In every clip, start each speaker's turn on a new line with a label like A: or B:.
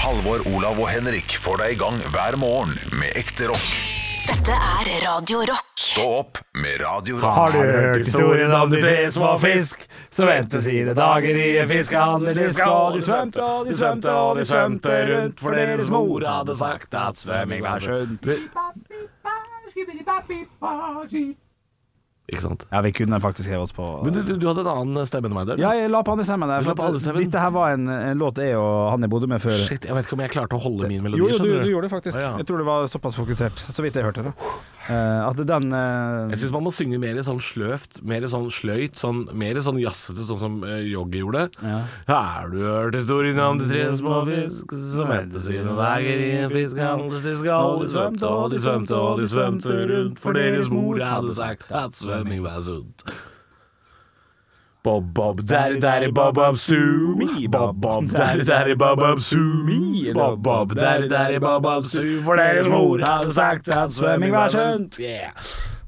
A: Halvor, Olav og Henrik får deg i gang hver morgen med ekte rock.
B: Dette er Radio Rock.
A: Stå opp med Radio Rock.
C: Har du hørt historien om de tre små fisk som vendte sine dager i en fiskehandlerdisk? Og de svømte og de svømte og de svømte rundt, for deres mor hadde sagt at svømming
D: altså.
C: var sunt.
E: Ikke sant?
C: Ja, vi kunne faktisk heve oss på
E: Men du, du, du hadde en annen stemme enn meg der. du.
C: Ja, jeg la på andre stemmen der.
E: Du la på
C: For
E: andre
C: at
E: stemmen?
C: dette her var en, en låt jeg og han jeg bodde med før.
E: Shit, jeg vet ikke om jeg klarte å holde min melodi.
C: Jo, jo du,
E: skjønner
C: du gjorde det faktisk.
E: Å, ja.
C: Jeg tror det var såpass fokusert, så vidt jeg hørte det. Eh, at den eh,
E: Jeg syns man må synge mer sånn sløvt, mer sånn sløyt, sånn, mer sånn jazzete, sånn som eh, Jogge gjorde. Har du hørt historien om de tre små fisk som vendte sine dager i en fiskehandlerdisk? Og de svømte og de svømte og de svømte rundt, for deres mor hadde sagt at svømming var sunt. Bob, bob, daddy, daddy, bob, bob, sue me. Bob, bob, daddy, daddy, bob, bob, sue me. Bob, bob, daddy, daddy, bob, bob, sue. For deres mor hadde sagt at svømming var sunt. Yeah.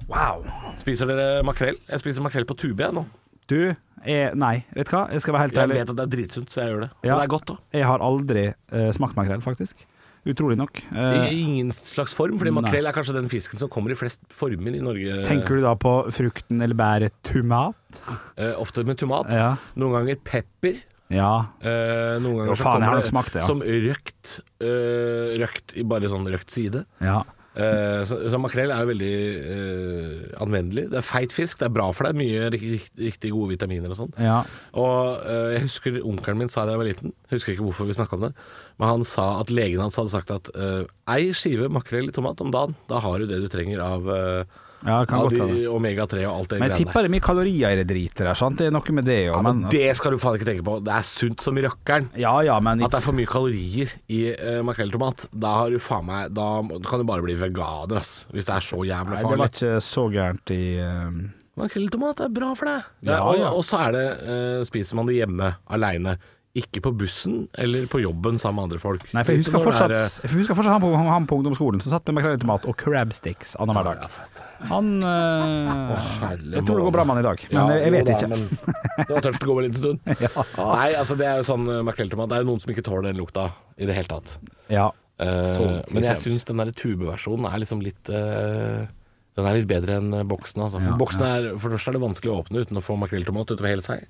C: Wow.
E: Spiser dere makrell? Jeg spiser makrell på tube jeg, nå.
C: Du er Nei, vet du hva? Jeg skal være helt
E: Jeg
C: ærlig.
E: vet at det er dritsunt, så jeg gjør det. Og
C: Ja.
E: det er godt òg.
C: Jeg har aldri eh, smakt makrell, faktisk. Utrolig nok.
E: I
C: Eh,
E: ingen slags form, fordi
C: Nei.
E: makrell er kanskje den fisken som kommer i flest former i Norge.
C: tenker du da på frukten eller bæret tomat?
E: Eh, ofte med tomat.
C: Ja.
E: Noen ganger pepper.
C: Ja.
E: Eh, noen ganger
C: Jo,
E: så
C: faen, jeg har
E: kommer
C: nok smakt det, ja.
E: som røkt. eh, røkt i bare sånn røkt side.
C: ja.
E: Eh, så, så makrell er jo veldig eh, anvendelig. Det er feit fisk, det er bra for deg. Mye riktig, riktig gode vitaminer og sånn.
C: ja.
E: Og eh, jeg husker onkelen min sa det da jeg var liten, husker ikke hvorfor vi snakka om det, men han sa at legen hans hadde sagt at eh, ei skive makrell i tomat om dagen, da har du det du trenger av, eh,
C: Ja, det kan
E: av
C: godt
E: de,
C: være det.
E: omega-3 og alt det
C: Men jeg
E: greiene
C: tipper det er mye kalorier i det dritet der, sant? Det er noe med det òg,
E: Ja, men
C: men
E: det skal du faen ikke tenke på. Det er sunt som rakkeren.
C: Ja ja, men
E: At det
C: ikke
E: er for mye kalorier i uh, makrell i tomat, da har du faen meg Da må- da kan du bare bli veganer, ass. Hvis det er så jævla
C: Nei, det var
E: farlig.
C: ikke så gærent i eh,
E: Makrell i tomat er bra for deg.
C: Ja,
E: og,
C: ja.
E: og så er det eh, Spiser man det hjemme aleine. Ikke på bussen eller på jobben sammen med andre folk.
C: Nei, for jeg
E: Hvis
C: husker
E: det når
C: fortsatt,
E: det er, eh,
C: jeg husker fortsatt han, på, han på ungdomsskolen som satt med makrell i tomat og crabsticks annenhver dag. Han eh,
E: herre
C: Jeg tror det går bra med han i dag, men
E: Ja,
C: jeg, jeg vet
E: jo da,
C: ikke.
E: men det var tørst å gå med en liten stund. Nei, altså det er jo sånn eh, makrelltomat. Det er jo noen som ikke tåler den lukta i det hele tatt.
C: Ja.
E: Eh,
C: Så
E: men jeg
C: ekstremt.
E: syns den der tubeversjonen er liksom litt eh, Den er litt bedre enn eh, boksen, altså. For
C: Ja,
E: boksen er, for det første er det vanskelig å åpne uten å få makrelltomat utover hele seg.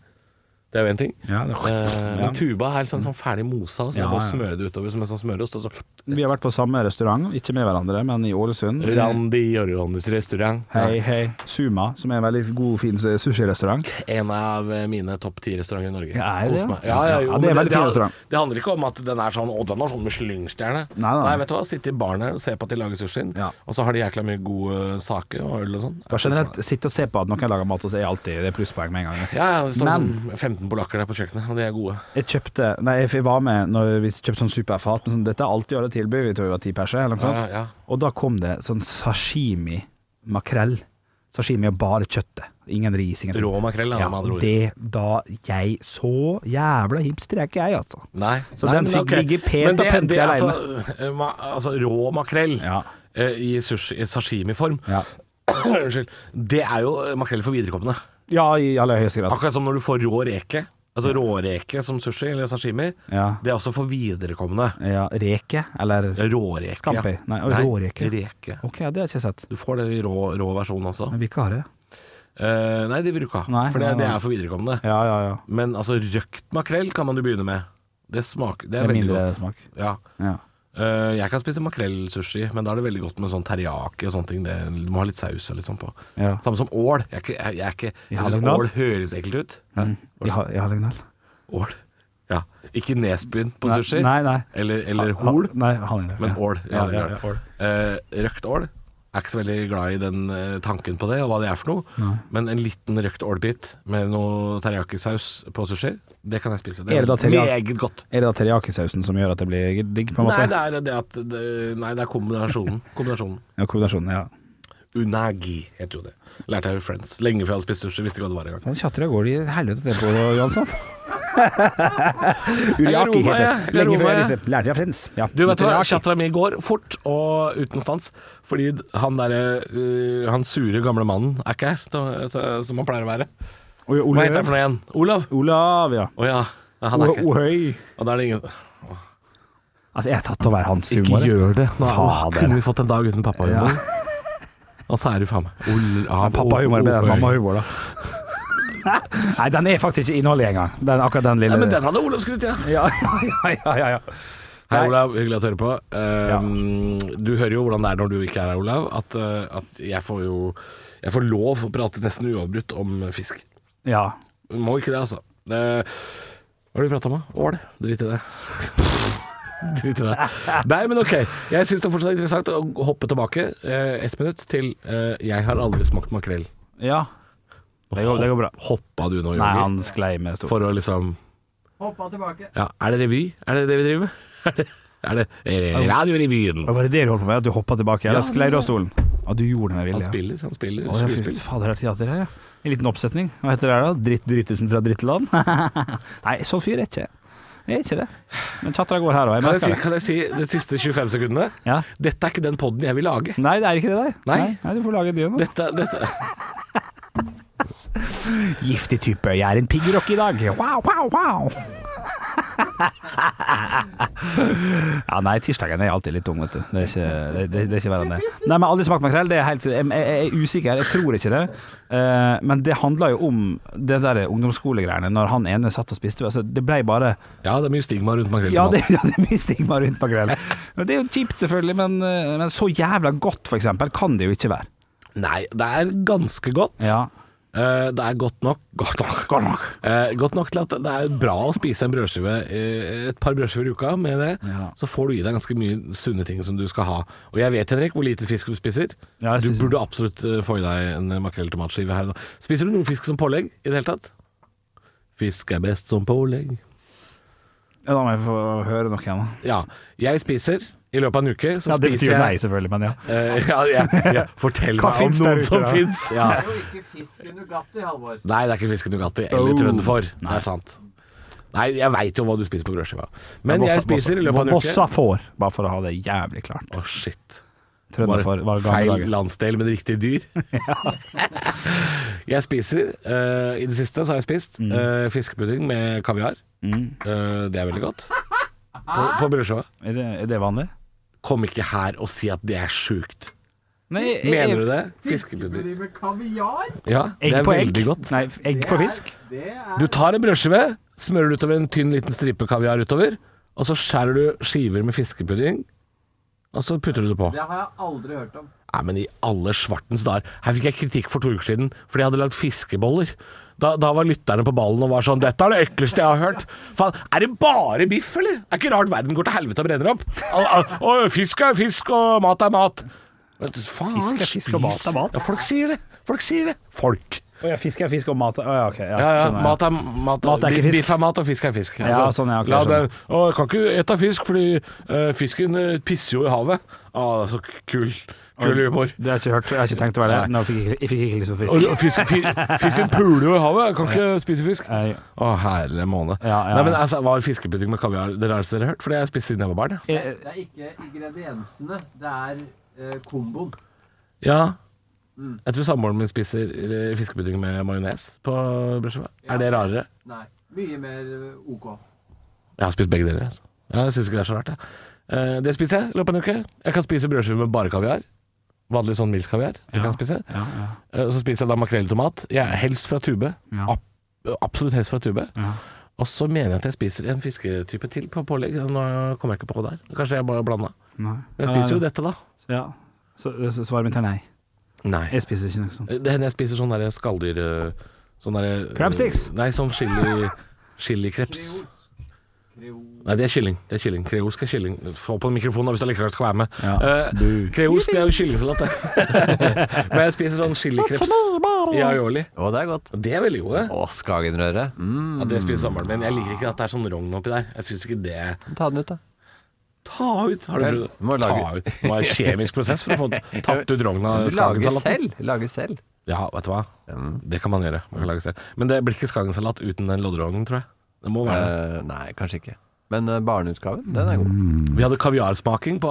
E: Det er jo én ting.
C: Ja, det er-
E: Eh,
C: Ja.
E: men tuba er sånn, sånn ferdig mosa, så det
C: Ja,
E: er bare
C: ja.
E: å smøre det utover som en sånn smørost. Og så
C: Vi har vært på samme restaurant, ikke med hverandre, men i Ålesund.
E: Randi Jorjondis restaurant.
C: Hei, hei. Suma, som er en veldig god, fin sushirestaurant.
E: En av eh, mine topp ti restauranter i Norge.
C: Ja, er det
E: Kos
C: det?
E: meg. Ja, ja, jo,
C: Ja, det er
E: men
C: veldig fin
E: det,
C: restaurant.
E: det handler ikke om at den er sånn Å, den har sånn Michelin-stjerne.
C: Nei, nei.
E: vet du hva. Sitte i baren her og se på at de lager sushien.
C: Ja.
E: Og så har de jækla mye god eh, sake og øl og sånn.
C: Bare generelt, sitte og se på at noen lager mat, og så er alltid det er plusspoeng med en gang.
E: Ja, ja, det står
C: Men-
E: sånn 15 polakker der på kjøkkenet, og de er gode.
C: Jeg kjøpte Nei, jeg var med når vi kjøpte sånn superfat. Men sånn, dette er alt de hadde tilbud. Vi tror vi var ti perser, eller noe
E: Ja,
C: sånt.
E: ja.
C: Og da kom det sånn sashimi makrell. Sashimi og bare kjøttet. Ingen ris, ingen
E: Rå makrell, da,
C: Ja,
E: med andre
C: og
E: ord.
C: det da jeg Så jævla hipster er ikke jeg, altså.
E: Nei.
C: Så
E: Nei,
C: den
E: men
C: fikk
E: ok.
C: ligge pent
E: Men
C: og
E: det- det er
C: pentre
E: Altså, eh, ma- altså rå makrell
C: Ja.
E: eh, i, sushi, i sashimi-form.
C: Ja,
E: Unnskyld. Det er jo eh, makrell for viderekomne.
C: ja i aller høyeste grad.
E: Akkurat som når du får rå reke. Altså råreke som sushi eller sashimi.
C: Ja.
E: Det er også for viderekomne.
C: Ja, reke, eller
E: Råreke.
C: Scampi. Nei, og råreke.
E: reke.
C: OK, det har jeg ikke sett.
E: Du får det i rå, rå versjon også.
C: Men vi ikke har det.
E: Eh, nei, det vil du ikke ha.
C: Nei,
E: For det,
C: nei, nei.
E: det er for viderekomne.
C: Ja, ja, ja.
E: Men altså røkt makrell kan man jo begynne med. Det smaker Det
C: Det
E: er,
C: er
E: veldig
C: mindre
E: godt.
C: smak.
E: Ja.
C: Ja.
E: Eh, jeg kan spise makrellsushi, men da er det veldig godt med sånn teriyaki og sånne ting. Det, du må ha litt saus og litt sånn på.
C: Ja.
E: Samme som ål. Jeg, er ikke- jeg, jeg, er ikke-
C: I
E: jeg syns
C: Hallingdal?
E: ål høres ekkelt ut.
C: I, Ha- i Hallingdal.
E: Ål. Ja. Ikke Nesbyen på
C: Nei,
E: sushi.
C: nei, nei.
E: Eller, eller
C: Ha-
E: hol,
C: Nei, Hallingdal.
E: men
C: ja.
E: ål. i
C: Ja, ja,
E: Hallingdal.
C: ja, ål.
E: Eh, røkt ål. Jeg er ikke så veldig glad i den eh, tanken på det, og hva det er for noe. Men en liten røkt ålbit med noe teriyaki-saus på sushi, det kan jeg spise.
C: Er det da teriyaki-
E: meget godt.
C: Er det da teriyakisausen som gjør at det blir digg, på en
E: Nei,
C: måte?
E: det er, det at det, nei, det er kombinasjonen. kombinasjonen.
C: Ja, kombinasjonen, ja.
E: Unagi heter jo det. Lærte jeg jo Friends. Lenge før jeg hadde spist sushi, visste ikke hva det var engang.
C: Han tjatter av gårde i helvete det på, Jansson.
E: Jeg
C: Uriaki
E: roer meg,
C: heter
E: jeg.
C: det.
E: Jeg
C: Lenge
E: roer
C: før jeg
E: meg.
C: visste Lærte jeg Friends. Ja.
E: Du vet hva,
C: Uriaki.
E: chattera mi går fort og uten stans, fordi han derre øh, Han sure gamle mannen er ikke her, da- da- som han pleier å være.
C: Oi, Ole-
E: Hva heter han for noe igjen? Olav?
C: Olav, ja.
E: Å ja. Nei, Han er
C: O-
E: ikke her.
C: Ohøy.
E: Og da er det ingen Åh.
C: Altså, jeg er tatt av å være hans
E: Ikke
C: humor.
E: gjør det. Nå
C: Fader.
E: kunne vi fått en dag uten pappahumor. Og så er det faen meg Ol- av-
C: Pappa humor
E: Opøy.
C: bedre enn mamma humor, da. Nei, den er faktisk ikke innholdet engang. Den, akkurat den lille
E: Nei, men den hadde Olav skrudd, ja.
C: Ja, ja, ja, ja, ja.
E: Hei,
C: Nei.
E: Olav. Hyggelig at du hører på. Ehm, Du hører jo hvordan det er når du ikke er her, Olav. At, eh, at jeg får jo Jeg får lov å prate nesten uavbrutt om fisk.
C: ja.
E: Må ikke det, altså. Det, hva har du prata om? da? Ål? Drit i det. Drit i det. Nei, men ok. Jeg syns det fortsatt er interessant å hoppe tilbake eh, ett minutt til eh, 'Jeg har aldri smakt makrell'.
C: ja. Det går, det går bra.
E: Hoppa du nå,
C: Nei,
E: Jørgen?
C: han sklei med stor.
E: For å liksom Hoppa tilbake. Ja, Er det revy? Er det det vi driver med? Er det, er det, er det Radiorevyen?
C: Var det det du holdt på med? At du hoppa tilbake? Eller
E: Ja,
C: sklei du
E: det-
C: av stolen? Ja, du gjorde det med
E: Han
C: vilje.
E: spiller, han spiller
C: Å, ja, fy
E: skuespill.
C: fader, det er teater her, ja. En liten oppsetning. Hva heter det her, da? Dritt Drittesen fra dritteland? Nei, sånn fyr er ikke jeg. Jeg er ikke det. Men chattera går her òg, jeg
E: Kan jeg, si,
C: merker det.
E: kan jeg si de siste 25 sekundene?
C: Ja.
E: Dette er ikke den poden jeg vil lage.
C: Nei, det er ikke det der.
E: Nei.
C: Nei, du får lage en ny en. da.
E: Dette, dette
C: Giftig type. Jeg er en piggrock i dag. Wow, wow, wow. ja, nei, tirsdagen er alltid litt tung, vet du. Det er ikke, det, det, det er ikke verre enn det. Nei, men aldri smakt makrell. Det er helt, jeg, jeg, jeg er usikker, jeg tror ikke det. Eh, men det handla jo om det der ungdomsskolegreiene, når han ene satt og spiste. Altså, det ble bare
E: Ja, det er mye stigma rundt makrell. i
C: ja,
E: maten.
C: det, ja, det er mye stigma rundt makrell. Men Det er jo kjipt, selvfølgelig, men, eh, men så jævla godt, for eksempel, kan det jo ikke være.
E: Nei, det er ganske godt.
C: Ja.
E: Eh, det er godt nok Godt nok. Godt nok. Eh, godt nok til at det er bra å spise en brødskive eh, et par brødskiver i uka med det.
C: Ja.
E: Så får du i deg ganske mye sunne ting som du skal ha. Og jeg vet, Henrik, hvor lite fisk du spiser.
C: Ja, jeg
E: du
C: spiser-
E: burde absolutt eh, få i deg en makrell i tomatskive her og nå. Spiser du noe fisk som pålegg i det hele tatt? Fisk er best som pålegg.
C: Da må jeg få høre noe igjen. da.
E: Ja. Jeg spiser i løpet av en uke, så
C: Ja, det
E: spiser
C: betyr nei,
E: jeg
C: selvfølgelig, men ja.
E: Eh, ja, ja, ja. Fortell
C: Hva
E: meg om
C: finnes der
E: noen
C: ute,
E: som
C: da?
E: fins. Ja.
F: Det er jo ikke fisk i Nugatti, Halvor.
E: Nei, det er ikke fiske Nugatti eller
C: Oh.
E: trønderfor. Det er sant. Nei, jeg veit jo hva du spiser på brødskiva. Men
C: Vossa-
E: jeg spiser i løpet av en uke
C: Vossa får, bare for å ha det jævlig klart.
E: Å, shit.
C: Trønderfor var gamle
E: feil
C: dager.
E: landsdel, men riktig dyr. jeg spiser eh, I det siste så har jeg spist
C: Mm.
E: eh, fiskepudding med kaviar. Eh, det er veldig godt. På, på brødskiva.
C: Er det, er det vanlig?
E: Kom ikke her og si at det er sjukt.
C: Nei,
E: Mener du det? Fiskepudding.
F: Driver kaviar?
E: Ja,
C: Egg
E: det er
C: på egg?
E: veldig godt.
C: Nei, egg på fisk?
F: Det er
E: Du tar en brødskive, smører det utover en tynn liten stripe kaviar utover, og så skjærer du skiver med fiskepudding, og så putter du det på.
F: Det har jeg aldri hørt om.
E: Nei, men i alle svartens dager. Her fikk jeg kritikk for to uker siden, fordi jeg hadde lagd fiskeboller. Da, da var lytterne på ballen og var sånn 'Dette er det ekleste jeg har hørt'. Faen, er det bare biff, eller? Er ikke rart verden går til helvete og brenner opp. Al- al- Og fisk er fisk, og mat er mat. Men du, Faen,
C: Fisk er fisk, og mat er
E: spis.
C: mat.
E: Ja, folk sier det. Folk sier det. Folk.
C: Å ja, fisk er fisk, og mat er Å ja, ok. Ja,
E: Ja, ja.
C: skjønner jeg.
E: Mat er, mat,
C: Mat er ikke fisk.
E: Biff er mat, og fisk er fisk. Altså,
C: Ja, sånn, ja, ok,
E: la
C: jeg
E: den, og jeg kan ikke ete fisk, fordi eh, fisken eh, pisser jo i havet. Ah, det er så kul, kul humor.
C: Det har jeg ikke hørt. Jeg har ikke tenkt å være det. Nå fikk jeg, jeg fikk ikke lyst på
E: Og
C: fisk.
E: Fisk, fi, fisken puler jo i havet, jeg kan ikke spise fisk. Å,
C: Nei.
E: herlig måne.
C: Ja, ja.
E: Nei, men altså, Var fiskepudding med kaviar det rareste dere har hørt? For det har jeg spist siden jeg var barn. jeg.
C: Eh,
F: Det er ikke ingrediensene, det er eh, komboen.
E: Ja. Mm. Jeg tror samboeren min spiser eh, fiskepudding med majones på brødskiva. Er det rarere?
F: Nei. Mye mer eh, OK.
E: Jeg har spist begge deler. Altså. Ja, Jeg syns ikke det er så rart. Jeg. Eh, det spiser jeg i løpet av en uke. Jeg kan spise brødskive med bare kaviar. Vanlig sånn mild kaviar. Det kan jeg spise.
C: Ja, ja.
E: Eh, så spiser jeg da makrell i tomat. Jeg er helst fra tube.
C: Ja.
E: Ab- absolutt helst fra tube.
C: Ja.
E: Og så mener jeg at jeg spiser en fisketype til på pålegg. Nå kommer jeg ikke på der. Kanskje jeg bare blanda.
C: Nei.
E: Men jeg spiser jo dette, da.
C: Ja. Så så svaret mitt er nei.
E: Nei.
C: Jeg spiser ikke noe sånt.
E: Det hender jeg spiser sånn derre skalldyr... eh, Sånn derre
C: Crab sticks?
E: Nei, sånn chili chilikreps. Nei, det er kylling. Det er kylling. Kreolsk er kylling. Få på mikrofonen da, hvis du likevel skal være med.
C: Ja.
E: Eh,
C: Bu.
E: kreolsk det er jo kyllingsalat, det. Men jeg spiser sånn chilikreps i aioli.
F: Å, det er godt.
E: Og Det er veldig gode.
F: Å, skagenrøre. Mm.
E: Ja, det spiser samboeren min. Jeg liker ikke at det er sånn rogn oppi der. Jeg syns ikke det
F: Ta den ut, da.
E: Ta ut! Har du
F: Vel, du må lage-
E: Ta ut. Det var en kjemisk prosess for å få tatt ut rogn av
F: Lage
E: skagensalaten.
F: selv. Lage selv.
E: Ja, vet du hva. Det kan man gjøre. Man kan lage selv. Men det blir ikke skagensalat uten den lodderognen, tror jeg. Det må være det.
F: Eh, nei, kanskje ikke. Men eh, barneutgaven, den er
D: Mm.
F: god.
E: Vi hadde kaviarsmaking på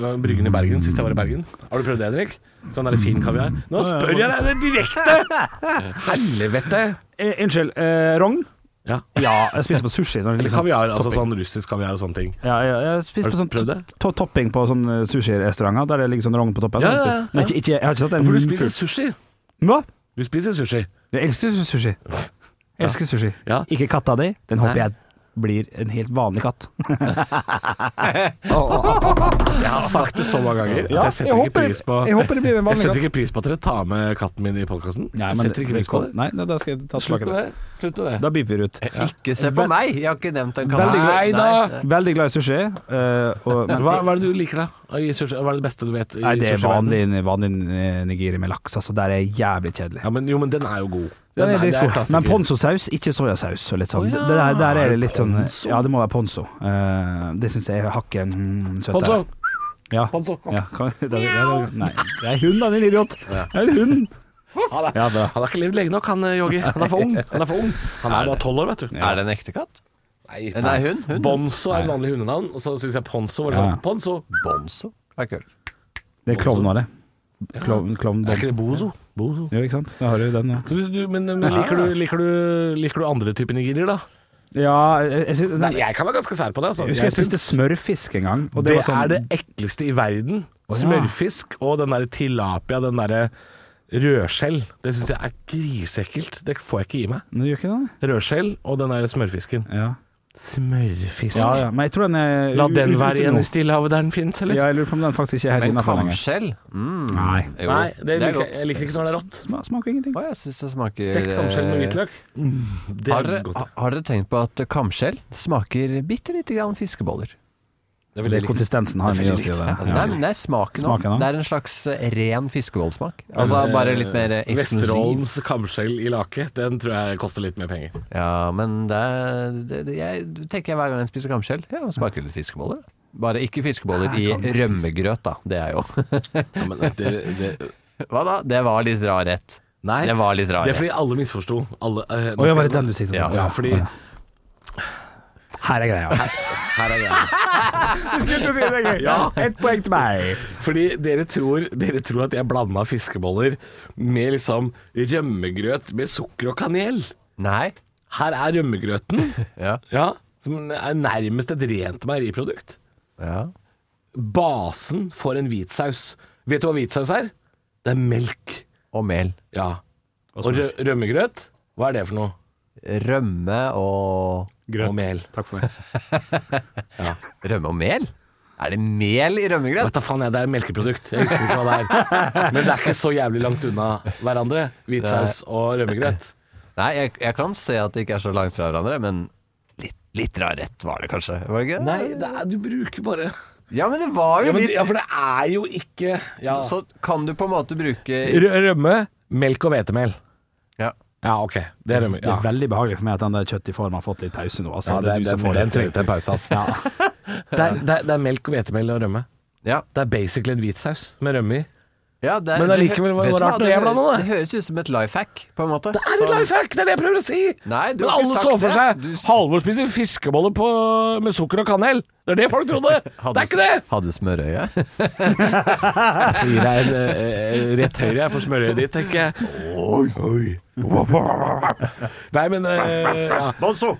E: eh, Bryggen i Bergen sist jeg var i Bergen. Har du prøvd det, Henrik? Sånn der fin kaviar. Nå spør jeg deg det direkte! Helvete!
C: Eh, unnskyld. Eh, rogn?
E: Ja.
C: Ja, jeg spiser på sushi. Når det
E: Eller
C: liksom-
E: kaviar, altså
C: topping.
E: sånn russisk kaviar og sånne ting.
C: Ja, ja, jeg spiser
E: Har
C: på
E: du
C: sånn
E: prøvd det?
C: to- topping på sånn eh, sushirestauranter der det ligger sånn rogn på toppen.
E: Ja, ja, ja.
C: Men ikke, ikke, jeg har ikke tatt en
E: For du
C: munnfull.
E: spiser sushi.
C: Hva?
E: Du spiser sushi.
C: Jeg elsker su- sushi. Jeg elsker sushi.
E: Ja.
C: Ikke katta di. Den håper
E: Nei.
C: jeg blir en helt vanlig katt.
E: Jeg har sagt det så mange ganger.
C: Ja,
E: at jeg setter
C: jeg
E: ikke
C: håper-
E: pris på
C: jeg håper det blir en vanlig
E: Jeg setter
C: katt.
E: ikke pris på at dere tar med katten min i podkasten. Jeg setter ikke pris på det.
C: Nei, nei, da skal jeg ta tilbake det.
E: Slutt med det.
C: Da beeper vi ut.
G: Ikke se på
C: Vel-
G: meg, jeg har ikke nevnt en
C: Veldig,
G: kanal.
C: glad- veldig glad i sushi. eh, og, men,
E: Hva, hva er det du liker, da? I sushi, hva er det beste du vet? I
C: nei, det er vanlig,
E: sushiverdenen?
C: vanlig eh, nigiri med laks, altså. Der er jeg jævlig kjedelig.
E: Ja, men, jo, men den er jo god.
C: Den er litt god.
E: klassiker.
C: Men ponzosaus, ikke soyasaus. Og litt sånn.
E: Å ja.
C: det der, der
E: Er
C: er
E: det
C: det litt sånn
E: ponzo?
C: Ja, det må være ponzo. Eh, det syns jeg er hakket mm, søtere.
E: Ponzo!
C: Ja.
E: Ponzo, kom.
C: Ja, kan, det, det, det, nei, det er hund, da, din idiot. Det er en hund.
E: Han, er,
C: Ja, bra.
E: han har ikke levd lenge nok, han eh, Yogi. Han er for ung. Han er for ung Han er bare tolv år, vet du.
D: Er det en ekte katt?
E: Nei,
G: Nei, hun. hun.
E: Bonzo er et vanlig hundenavn, og så syns jeg Ponzo var litt
C: Ja.
E: sånn Ponzo.
D: Bonzo? Det er kult.
C: Det er klovn, var det. Klovn, klovn
E: Er ikke det Bozo? Bozo.
C: Jo, ikke sant. Da har du den, ja.
E: Så hvis du, men men liker, du, liker, du, liker du andre typer nigerier, da?
C: Ja, jeg, jeg, syns-
E: Nei, jeg kan være ganske sær på det. Altså.
C: jeg husker jeg spiste
E: syns
C: smørfisk en gang. Og det,
E: det
C: var sånn,
E: er det ekleste i verden.
C: ja.
E: Smørfisk og den derre tilapia, den derre rødskjell. Det syns jeg er grisekkelt. Det får jeg ikke i meg.
C: Nå gjør ikke det det?
E: Rødskjell og den derre smørfisken.
C: Ja.
E: Smørfisk.
C: ja, ja. Men jeg tror den er
E: La
C: u-
E: den
C: u- ute
E: være igjen
C: nå.
E: i Stillehavet der den finnes, eller?
C: Ja, jeg lurer på om den faktisk ikke er helt
D: Men
C: innafor lenger.
D: kamskjell? Mm.
C: Nei.
D: Jo,
E: Nei, det
D: er
E: liker,
D: godt.
E: jeg liker ikke når det er rått.
C: Sma- Smaker ingenting.
D: Å, jeg syns det smaker
E: Stekt kamskjell med
D: eh,
E: hvitløk. ah, Det
D: Har
E: er
D: dere,
E: godt.
D: ha- har dere tenkt på at kamskjell smaker bitte lite grann fiskeboller?
E: Det
C: Det er konsistensen har mye å si.
D: Ja.
C: det.
D: Nei, men det er smaken òg.
C: Smaken også.
D: Det er en slags eh, ren fiskebollsmak. Altså bare litt mer eh, eksklusiv.
E: Vesterålens kamskjell i lake, den tror jeg koster litt mer penger.
D: Ja, men det, er- det, det jeg, det tenker jeg hver gang jeg spiser kamskjell. Ja, det smaker litt fiskeboller. Bare ikke fiskeboller i rømmegrøt, da. Det er jo
E: Ja, men det, det,
D: Hva da? Det var litt rar rett.
E: nei,
D: Det var litt rar
E: det er fordi
D: rett.
E: alle misforsto. Alle, eh,
C: Å ja,
E: nå skal
C: var det
E: jeg-
C: den du siktet
D: Ja,
C: på?
E: Ja, fordi
C: Her er greia.
E: her er det. Ja.
C: Ett poeng til meg.
E: Fordi dere tror, dere tror at jeg blanda fiskeboller med liksom rømmegrøt med sukker og kanel.
D: Nei.
E: Her er rømmegrøten,
D: Ja.
E: ja, som er nærmest et rent meieriprodukt.
D: ja.
E: basen for en hvitsaus. Vet du hva hvitsaus er? Det er melk.
D: Og mel.
E: Ja. Og rø rømmegrøt, hva er det for noe?
D: Rømme og
E: Og mel.
C: Takk for meg.
D: Rømme og mel? Er det mel i rømmegrøt?
E: Vet da faen jeg, det er melkeprodukt. Jeg husker ikke hva det er. Men det er ikke så jævlig langt unna hverandre. Hvitsaus og rømmegrøt.
D: Nei, jeg, jeg kan se at det ikke er så langt fra hverandre, men litt, litt rar rett var det kanskje. Var det ikke?
E: Nei, det er, du bruker bare
D: Ja, men det var
E: ja,
D: jo
E: men,
D: litt
E: ja, for det er jo ikke ja.
D: Så kan du på en måte bruke
E: Rø Rømme, melk og hvetemel.
D: Ja.
E: Ja, ok. Det er rømme.
C: Det
E: Ja.
C: er veldig behagelig for meg at den der kjøttet i form har fått litt pause nå. Altså.
E: Ja,
C: det, er du
E: den-
C: som får
E: den
C: den.
E: trengte en pause, ass. Det, er, det, er, det er melk og hvetemel og rømme.
D: Ja,
E: Det er basically en hvitsaus med rømme i.
D: ja det, er-
E: Men
D: det hø-
E: allikevel var det
D: vet du
E: rart
D: hva,
E: når
D: det,
E: jeg blander
D: hø-
E: det.
D: det høres ut som et life hack, på en måte.
E: Det er et
D: Sånn-
E: life hack, det er det jeg prøver å si!
D: Nei, du
E: Men
D: har ikke
E: alle
D: sagt
E: så for
D: det.
E: seg
D: Du-
E: Halvor spiser fiskeboller på, med sukker og kanel. Det er det folk trodde!
D: Hadde-
E: det er ikke det!
D: Hadde smørøye.
E: Jeg skal gi deg en eh, rett høyre jeg, på smørøyet ditt, tenker jeg. Oi, oi. Nei, men eh, ja.
D: Bonzo!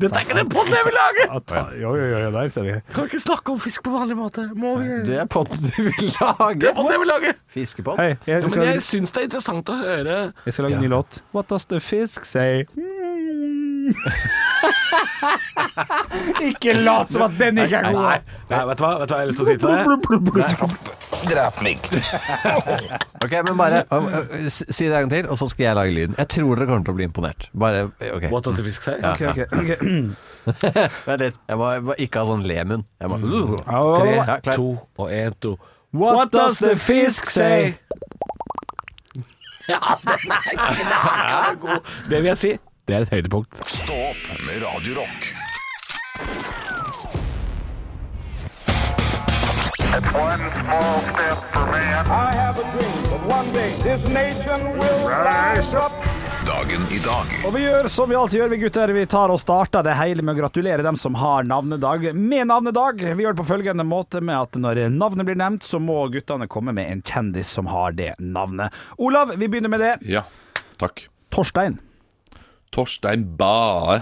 E: Dette er ikke den podden jeg vil lage!
C: Ja, ta- Jo, jo, jo, jo, der ser vi.
E: Kan vi ikke snakke om fisk på vanlig måte. Må vi?
D: Det er potten du vil
E: Det er
D: lage.
E: podden jeg vil lage!
D: Fiskepott.
C: Hei,
E: Ja,
C: jeg
E: men
C: skal,
E: jeg syns det er interessant å høre
C: jeg skal lage en ny låt. What does the fisk say? Mm. ikke lat som at den ikke er
E: Nei, nei vet, du hva? vet du hva jeg har lyst til å si til deg?
A: Drep meg.
D: Ok, men bare ø, ø, ø, s- Si det en gang til, og så skal jeg lage lyden. Jeg tror dere kommer til å bli imponert. Bare OK.
E: What does a fisk say?
C: Ok, ok, ok.
D: Vent litt. Jeg må, jeg må ikke ha sånn lemunn. Jeg må
E: Mm.
D: uh.
C: Tre,
D: ja, klar.
E: to og én, to.
C: What does the fisk say?
E: Ja, den er god. Det vil jeg si. Det er et høydepunkt.
A: Stå opp med Radio Rock.
H: One small step for man.
I: I have a dream that one day this nation will rise up.
A: Dagen i dag.
C: Og vi gjør som vi alltid gjør, vi gutter. Vi tar og starter det hele med å gratulere dem som har navnedag med navnedag. Vi gjør det på følgende måte med at når navnet blir nevnt, så må guttene komme med en kjendis som har det navnet. Olav, vi begynner med det.
J: Ja, takk.
C: Torstein.
J: Torstein Bae.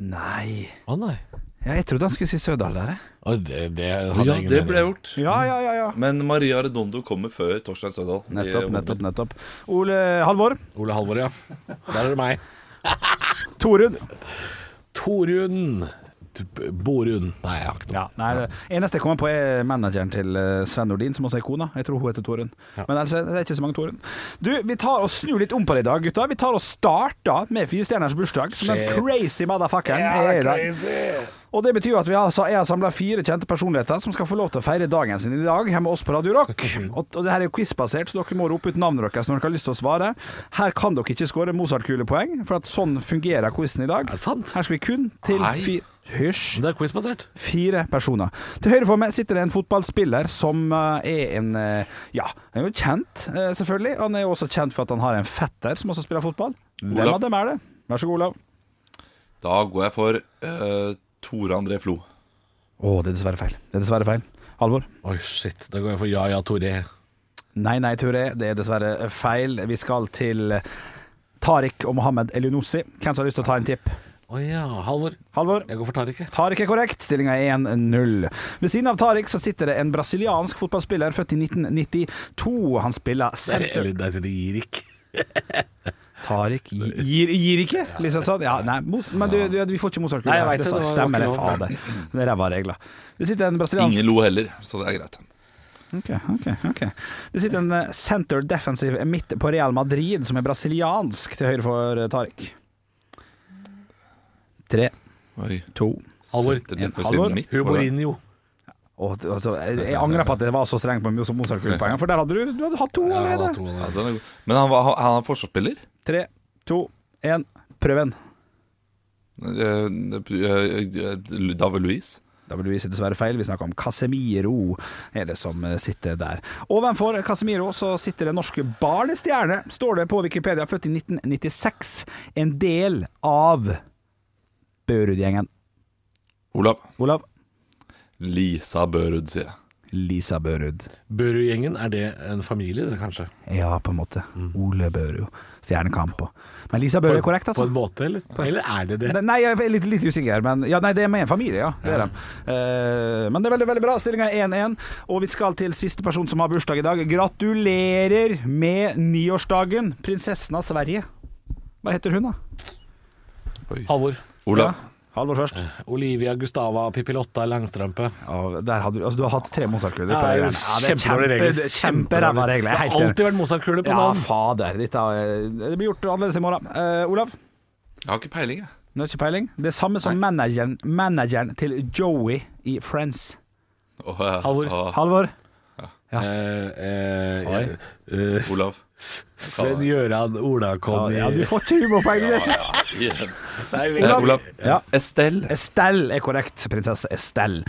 C: Nei
E: Å nei.
C: ja, Jeg trodde han skulle si Sødal der. jeg.
E: Å, det, det
J: Å
E: hadde
J: ja,
E: jeg ingen
J: det
E: mening
J: ble
E: om.
J: gjort.
C: Ja, ja, ja, ja.
J: Men Maria Redondo kommer før Torstein Søndal.
C: Nettopp, nettopp, nettopp. Ole Halvor.
E: Ole Halvor, ja. Der er det meg.
C: Torunn.
E: Torunn T- Borunn. Nei, jeg har ikke noe.
C: Ja, nei, det eneste jeg kommer på er manageren til eh, Sven Nordin, som også er kona. Jeg tror hun heter Torunn. Men ellers er det ikke så mange Torunn. Du, vi tar og snur litt om på det i dag, gutta. Vi tar og starter med firestjerners bursdag, som den
E: Shit.
C: crazy motherfuckeren er i dag. Og det betyr jo at vi har, jeg har samla fire kjente personligheter som skal få lov til å feire dagen sin i dag her med oss på Radio Rock.
E: Mm.
C: Og, og det her er jo quizbasert, så dere må rope ut navnet deres når dere har lyst til å svare. Her kan dere ikke skåre Mozart-kulepoeng, for at sånn fungerer quizen i dag.
E: Er det sant?
C: Her skal vi kun til fire Hysj!
E: Det er quizbasert.
C: Fire personer. Til høyre for meg sitter det en fotballspiller som eh, er en eh, Ja, han er jo kjent, eh, selvfølgelig. Han er jo også kjent for at han har en fetter som også spiller fotball. Hvem
J: Olav.
C: av dem er det? Vær så god, Olav.
J: Da går jeg for eh, Tore André Flo.
C: Å, det er dessverre feil. Det er dessverre feil. Halvor?
E: Oi, shit. Da går jeg for Ja ja Toré.
C: Nei, nei, Ture. Det er dessverre feil. Vi skal til Tariq og Mohammed Elionossi. Hvem som har lyst til å ta en tipp?
E: Å ja. Halvor.
C: Halvor?
E: Jeg går for Tariq. jeg.
C: Tariq er korrekt. Stillinga er 1-0. Ved siden av Tariq så sitter det en brasiliansk fotballspiller født i 1992. Han spiller
E: Der er-
C: senter.
E: Eller der sitter Irik.
C: Tariq gi- gir, gir ikke, liksom sånn. Ja, nei, mos, men du, du, vi får ikke Mozart-kule.
E: Nei, jeg vet
C: Det
E: det,
C: sa-
E: det var-
C: Stemmer det,
E: det var ikke
C: fader. Det er ræva regler. Det sitter en brasiliansk
J: Ingen lo heller, så det er greit.
C: Ok, ok, ok. Det sitter en eh, center defensive midt på Real Madrid som er brasiliansk til høyre for eh, Tariq. Tre,
J: Oi.
C: to
E: Halvor.
J: Setter den for
C: Halvor.
J: siden mitt, var det?
E: Humorinho.
C: Åh, det- altså, jeg, jeg angrer på at jeg var så streng på Mjøs og Mozart-kulepoengene, for der hadde du, du hadde hatt to
E: Ja, han har
C: allerede.
E: to
J: Ja,
E: allerede.
J: den er god. Men han, var, han- han er forsvarsspiller?
C: Tre, to, én. Prøv en.
J: Eh, eh, eh, David Louise?
C: Da vil du vise dessverre feil. Vi snakker om Casemiro, er det som eh, sitter der. Ovenfor Casemiro så sitter det norske barnestjerne, står det på Wikipedia, født i 1996. En del av Børud-gjengen.
J: Olav?
C: Olav?
J: Lisa Børud, sier jeg.
C: Lisa Børud.
E: Børud-gjengen, er det en familie, det, kanskje?
C: Ja, på en måte. Ole Børud. Stjernekamp og Men Lisa Børud er korrekt,
E: Mm. På
C: altså.
E: en måte, eller? Eller er det det?
C: Nei, jeg er litt, litt usikker, men ja, nei, det er med en familie, ja. Det er de. Eh, men det er veldig veldig bra. Stillinga er 1-1, og vi skal til siste person som har bursdag i dag. Gratulerer med niårsdagen, prinsessen av Sverige. Hva heter hun, da?
E: Halvor.
J: Olav?
C: Halvor først.
E: Olivia Gustava Pipilotta Langstrømpe.
C: Ja, der hadde, du- altså, du har hatt tre Mozart-kuler.
E: Ja, det er jo kjempedårlige regler.
C: kjempe- Kjemperæva regler. Jeg er
E: Det har
C: helt enig.
E: alltid vært Mozart-kule på
C: Ja,
E: navn.
C: fader. Dette, er- det blir gjort annerledes i morgen. Eh, Olav?
J: Jeg har ikke peiling, jeg.
C: Nå er det ikke peiling. Det er samme som manageren, manageren til Joey i Friends.
J: Åh, eh,
E: Halvor.
J: åh,
C: Halvor?
E: Eh, eh, eh,
J: Olav.
E: Sven Gøran Ola-Conny
C: Ja, du får ikke humorpoeng. det er-
J: Eh, Olav.
C: Ja.
J: Estelle.
C: Estelle er korrekt, prinsesse Estelle.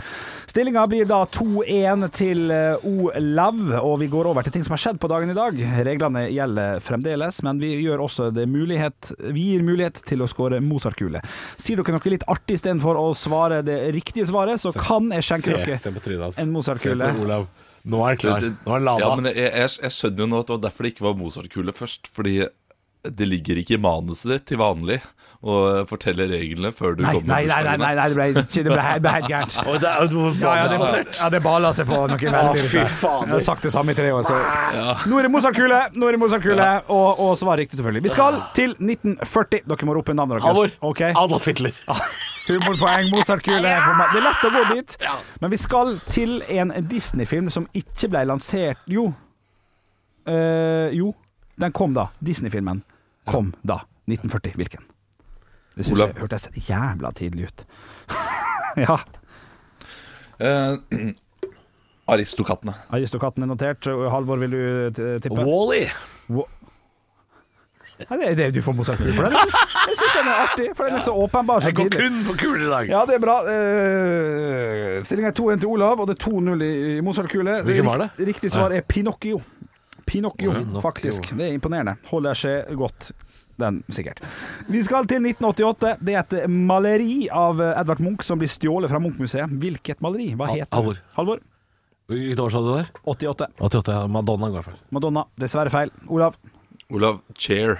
C: Stillinga blir da 2-1 til eh, Olav, og vi går over til ting som har skjedd på dagen i dag. Reglene gjelder fremdeles, men vi gjør også det mulighet Vi gir mulighet til å skåre Mozart-kule. Sier dere noe litt artig istedenfor å svare det riktige svaret, så kan jeg skjenke
E: Se, se
C: dere
E: på trynet hans.
C: en Mozart-kule.
E: Se på Olav. Nå er han klar. Nå er han lada.
J: Ja, men jeg, jeg, jeg skjønner jo nå at det var derfor det ikke var Mozart-kule først. Fordi det ligger ikke i manuset ditt til vanlig å fortelle reglene før du
C: Nei,
J: kommer
C: nei, nei, nei,
J: med bursdagen.
C: nei, nei, det ble, det ble, det ble helt gærent.
E: Oi, det er jo
C: Ja, ja, det, ja, det bala seg på noe veldig.
E: fy
C: rart.
E: fader.
C: Jeg har sagt det samme i tre år, så Nå er det Mozart-kule, nå er det Mozart-kule, og, og svar riktig, selvfølgelig. Vi skal til 1940. Dere må rope navnet deres.
E: Halvor.
C: Ok. Ah,
E: Adolf Hitler.
C: Humorpoeng, Mozart-kule. for meg. Det er lett å gå dit. Men vi skal til en Disney-film som ikke ble lansert Jo. Eh, jo, den kom da. Disney-filmen kom da. 1940. Hvilken? Det syns
J: Olav.
C: jeg hørtes jævla tidlig ut. ja.
J: Eh, Aristokattene.
C: Aristokatten er notert. Halvor, vil du t- tippe?
E: Wally.
C: Nei, det, det, du får Mozart-kule for den. Jeg syns- Jeg syns den er artig, for den er så åpenbar. Så
E: Jeg går
C: tidlig.
E: kun for kuler i dag.
C: Ja, det er bra. Uh, Stillinga er 2-1 til Olav, og det er 2-0 i, i Mozart-kule.
E: Hvilken var det?
C: Rikt- Riktig svar er Pinocchio. Pinocchio, faktisk. Det er imponerende. Holder seg godt. Den, sikkert. Vi skal til 1988. Det er et maleri av Edvard Munch som blir stjålet fra Munch-museet. Hvilket maleri? Hva
E: Hal-
C: heter det?
E: Halvor.
C: Halvor.
E: Hvilket år sa du der?
C: 88.
E: 88. ja. Madonna går for.
C: Madonna. Dessverre feil. Olav.
J: Olav, chair.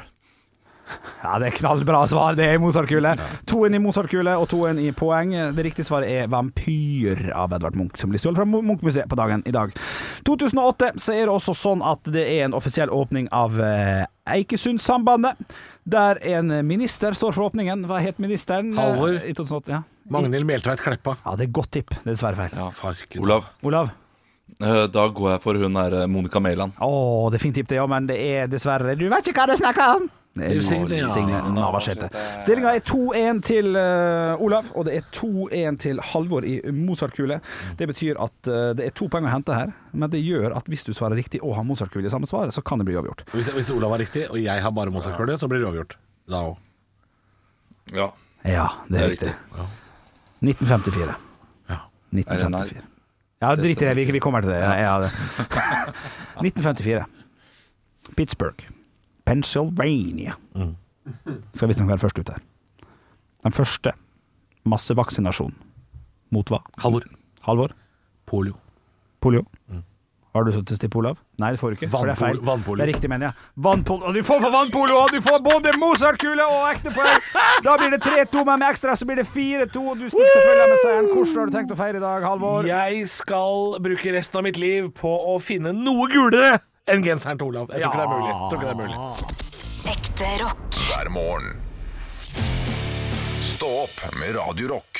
C: Ja, det er knallbra svar. Det er Mozart-kule. Toen i Mozart-kule og toen i poeng. Det riktige svaret er 'Vampyr' av Edvard Munch, som blir stjålet fra Mu- Munch-museet på dagen i dag. 2008 så er det også sånn at det er en offisiell åpning av eh, Eikesundsambandet, der en minister står for åpningen. Hva het ministeren? eh,
E: Halvor.
C: I 2008, ja.
E: Magnhild Meltveit Kleppa.
C: ja, det er godt tipp. Det er dessverre feil.
J: Ja.
E: Farken.
J: Olav,
C: Olav?
J: eh, da går jeg for hun der eh, Monica Mæland.
C: Å, det er fint tipp, det, ja, men det er dessverre Du vet ikke hva du snakker om! Det er
E: Signe, ja.
C: Signe Navarsete. Stillinga er 2-1 til eh, Olav, og det er 2-1 til Halvor i Mozart-kule. Det betyr at eh, det er to poeng å hente her, men det gjør at hvis du svarer riktig og har Mozart-kule i samme svar, så kan det bli uavgjort.
E: Hvis, hvis Olav har riktig, og jeg har bare Mozart-kule, så blir det uavgjort. Da òg.
J: Ja.
C: Ja, det er
J: Det er
C: riktig. 1954.
E: Ja.
C: 1954. Ja, drit i det. Vi, vi kommer til det. Ja, ja, det. 1954. Pittsburgh. Pennsylvania. Skal visstnok være først ut her. Den første massevaksinasjonen mot hva?
E: Halvor.
C: Halvor?
E: Polio.
C: Polio? Har du satt til Olav? Nei, det får du ikke. for det er feil.
E: Mm. Vannpol- vannpolio.
C: Det er riktig, mener jeg. Vannpolo. Og du får for vannpolo, og du får både Mozart-kule og ekte poeng! Da blir det 3-2, men med ekstra så blir det 4-2. og Du stikker selvfølgelig med seieren. Hvordan har du tenkt å feire i dag, Halvor?
E: Jeg skal bruke resten av mitt liv på å finne noe gulere enn genseren til Olav. Jeg tror ikke det er mulig. Jeg tror ikke det er mulig.
B: Ekte rock.
A: hver morgen. Stå opp med Radio Rock.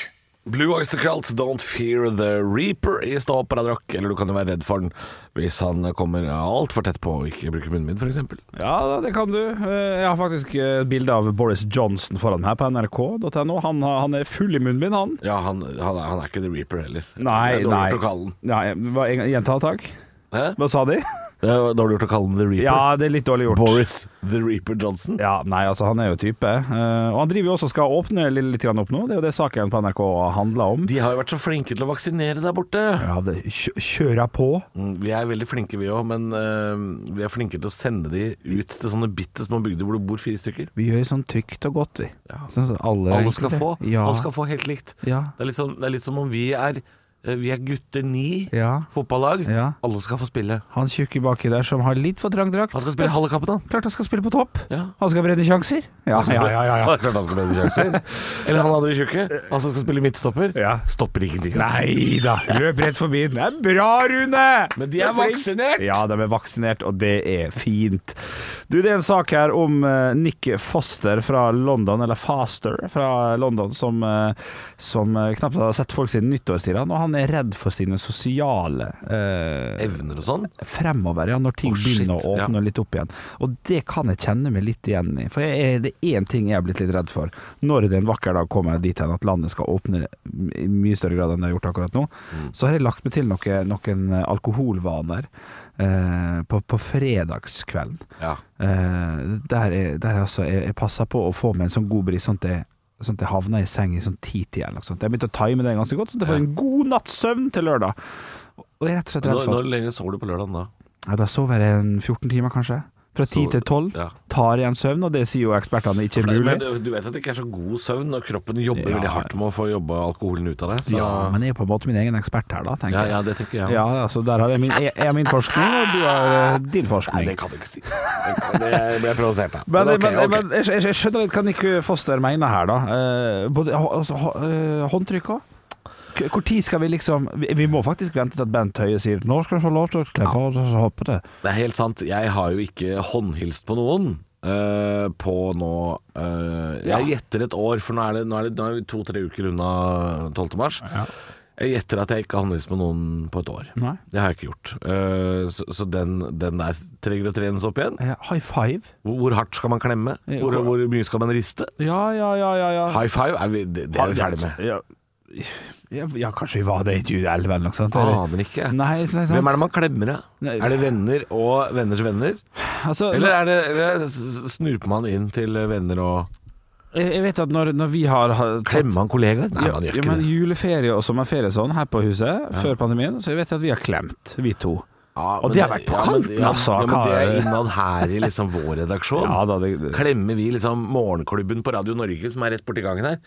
E: Blue Oyster Cult, Don't Fear The Reaper i Stå opp Paradock. Eller du kan jo være redd for den hvis han kommer altfor tett på og ikke bruker munnbind, f.eks.
C: Ja, det kan du. Eh, Jeg har faktisk et bilde av Boris Johnson foran meg på nrk.no. Han, er full i munnbind, han.
E: Ja, han, han, er, han er ikke The Reaper heller.
C: Nei,
E: det er dårlig
C: nei.
E: gjort å kalle den.
C: Gjenta, takk.
E: Hæ?
C: Hva sa de?
E: Det er dårlig gjort å kalle den The Reaper.
C: Ja, det er litt dårlig gjort.
E: Boris The Reaper Johnson.
C: Ja, nei, altså han er jo type. Eh, og han driver jo også og skal åpne litt, litt grann opp nå. Det er jo det saken på NRK handler om.
E: De har jo vært så flinke til å vaksinere der borte.
C: Ja, det, kjø- kjøra på.
E: Mm, Vi er veldig flinke vi òg, men eh, vi er flinke til å sende de ut til sånne bitte små bygder hvor det bor fire stykker.
C: Vi gjør sånn trygt og godt, vi.
E: Ja.
C: Sånn at alle,
E: Alle skal få.
C: Ja.
E: Alle skal få helt likt.
C: Ja.
E: Det er litt som, det er litt som om vi er, eh, vi er gutter ni,
C: ja.
E: fotballag.
C: Ja.
E: Alle skal få spille.
C: Han tjukke baki der som har litt for trang drakt.
E: Han skal spille halve kappen, han.
C: Klart han skal spille på topp.
E: Ja.
C: Han skal bredde sjanser. Ja, ja, ja.
E: ja, ja. Klart han skal spille sjanser. Eller han andre tjukke. Han som skal spille midtstopper.
C: Ja.
E: Stopper ingenting.
C: Nei da, løp rett forbi. Det er bra, Rune!
E: Men de er vaksinert!
C: Ja, de er vaksinert, og det er fint. Du, det er en sak her om eh, Nick Foster fra London, eller Faster fra London, som, eh, som eh, knapt har sett folk siden nyttårstida, og han er redd for sine sosiale eh,
E: Evner og sånn.
C: fremover, ja, når ting
E: Å, shit,
C: begynner å
E: ja.
C: åpne litt opp igjen. Og det kan jeg kjenne meg litt igjen i, for jeg, er- det er én ting jeg har blitt litt redd for. Når det en vakker dag kommer dit hen at landet skal åpne i mye større grad enn det har gjort akkurat nå,
E: Mm.
C: så har jeg lagt meg til noe, noen eh, alkoholvaner eh, på, på fredagskvelden.
E: Ja.
C: Eh, der er, der er altså, jeg, jeg passer på å få meg en sånn god bris, sånn at jeg, sånn at jeg havner i seng i sånn ti-tida eller noe sånt. Jeg begynte å time det ganske godt, sånn at jeg får en god natts søvn til lørdag. Og jeg er rett og slett redd
E: Når,
C: for
E: når lenge sover du på lørdagen da?
C: ja, da sover jeg en 14 timer, kanskje. Fra 10
E: Så-
C: til 12.
E: ja.
C: Tar igjen søvn, og det sier jo ekspertene ikke er mulig.
E: Men du, du vet at det ikke er så god søvn når kroppen jobber
C: Ja.
E: veldig hardt med å få jobba alkoholen ut av deg. Så...
C: Ja, men jeg er jo på en måte min egen ekspert her, da, tenker
E: ja,
C: jeg.
E: ja, det tenker jeg.
C: Ja, altså der har jeg min, jeg, jeg har min forskning, og du har eh, din forskning.
E: Det kan du ikke si. Det, kan, det ble jeg provosert av.
C: Men,
E: ok,
C: men,
E: ok.
C: men jeg, jeg, jeg skjønner litt hva Nick Foster mener her, da. Eh, både hå- altså, hå- eh, håndtrykk òg. Hvor tid skal vi liksom Vi, vi må faktisk vente til at Bent Høie sier 'Nå skal du få lov til å kle på deg', og så hoppe det.
E: Det er helt sant. Jeg har jo ikke håndhilst på noen. eh, på nå eh, Jeg gjetter et år, for nå er det, nå er det, nå er vi to-tre uker unna 12. mars. Jeg gjetter at jeg ikke har håndhilst på noen på et år.
C: Nei.
E: Det har jeg ikke gjort. Eh, så så den, den der trenger å trenes opp igjen.
C: Eh, high five?
E: Hvor, hvor hardt skal man klemme? Hvor, hvor mye skal man riste?
C: Ja, ja, ja, ja. ja.
E: High five, er vi, det, det er vi ferdig med.
C: Ja, ja, ja, kanskje vi var det i 2011 eller noe sånt. eller?
E: Aner ikke.
C: Nei, nei, sant.
E: Ah, Hvem er det man klemmer, da?
C: Nei.
E: Er det venner og venners venner?
C: Altså,
E: Eller, er det, eller s- snurper man inn til venner og
C: jeg jeg vet at når, når vi har har tatt-
E: Klemmer man kollegaer? Nei,
C: ja,
E: man gjør
C: ja,
E: ikke
C: men
E: det.
C: juleferie og sommerferie og sånn her på huset før pandemien, så jeg vet at vi har klemt, vi to.
E: Ja,
C: og
E: men
C: det har vært på
E: men-
C: kanten,
E: ja,
C: altså,
E: Ja, men det
C: hva-
E: er innad her i liksom vår redaksjon.
C: Ja da, det,
E: Klemmer vi liksom Morgenklubben på Radio Norge, som er rett borti gangen her?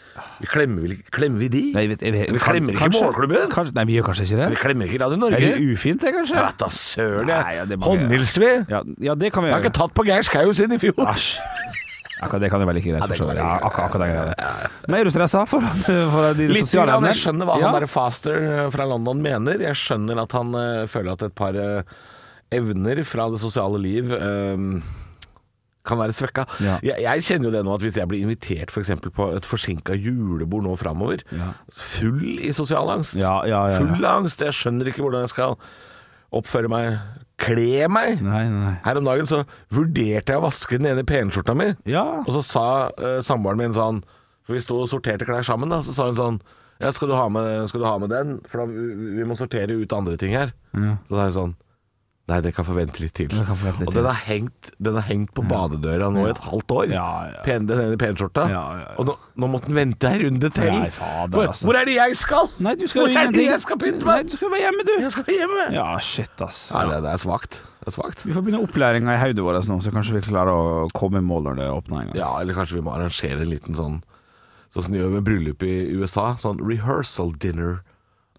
E: Vi Klemmer vi, klemmer vi de?
C: Nei, jeg vet- jeg vet-
E: vi klemmer ikke
C: kanskje-
E: Morgenklubben?
C: Kanskje, nei, vi gjør kanskje ikke
E: Vi
C: det.
E: klemmer ikke Radio
C: Er
E: Norge?
C: det ufint, det,
E: Jeg
C: kanskje?
E: vet da søren,
C: Nei, ja,
E: jeg.
C: det må vi gjøre.
E: Håndhilser vi?
C: Ja, ja, det kan vi
E: Jeg har
C: gjøre.
E: ikke tatt på Geir Skau siden i fjor.
C: Æsj. Akkurat det kan jeg vel like greit
E: det
C: forstå.
E: kan være
C: Ja,
E: like
C: akkurat, akkurat det kan jeg gjøre. Men er du stressa for, for de
E: Litt
C: sosiale
E: grann,
C: evnene?
E: jeg skjønner hva
C: Ja.
E: han der Faster eh, fra London mener. Jeg skjønner at han eh, føler at et par eh, evner fra det sosiale liv eh, kan være svekka.
C: Ja.
E: Jeg, jeg kjenner jo det nå at hvis jeg blir invitert for eksempel på et forsinka julebord nå framover, full i sosial angst,
C: Ja, ja, ja, ja.
E: full av angst, jeg skjønner ikke hvordan jeg skal oppføre meg, kle meg.
C: Nei, nei.
E: Her om dagen så vurderte jeg å vaske den ene penskjorta mi.
C: Ja.
E: Og så sa eh, samboeren min sånn For vi sto og sorterte klær sammen, da. Så sa hun sånn ja, skal, du ha med, 'Skal du ha med den? For da, vi, vi må sortere ut andre ting her.' Så sa hun sånn Nei, det kan forvente litt til.
C: kan forvente litt
E: og
C: til.
E: den har hengt, den har hengt på badedøra nå i et halvt år.
C: Ja, ja.
E: Pen, den ene penskjorta.
C: Ja, ja, ja.
E: Og nå, nå måtte den vente ei runde til.
C: Nei, fader,
E: hvor,
C: altså.
E: hvor er det jeg skal?
C: Nei, du skal
E: hvor
C: jo
E: er det
C: ingenting.
E: jeg skal pynte
C: Nei,
E: meg?
C: du skal være hjemme, du.
E: Jeg skal hjemme!
C: Ja, shit, ass.
E: Nei, det, det er svakt. Det er svakt.
C: Vi får begynne opplæringa i hodet vårt nå, så kanskje vi klarer å komme i mål når det åpner en gang.
E: Ja, eller kanskje vi må arrangere en liten sånn Sånn som de gjør med bryllup i USA. Sånn rehearsal dinner.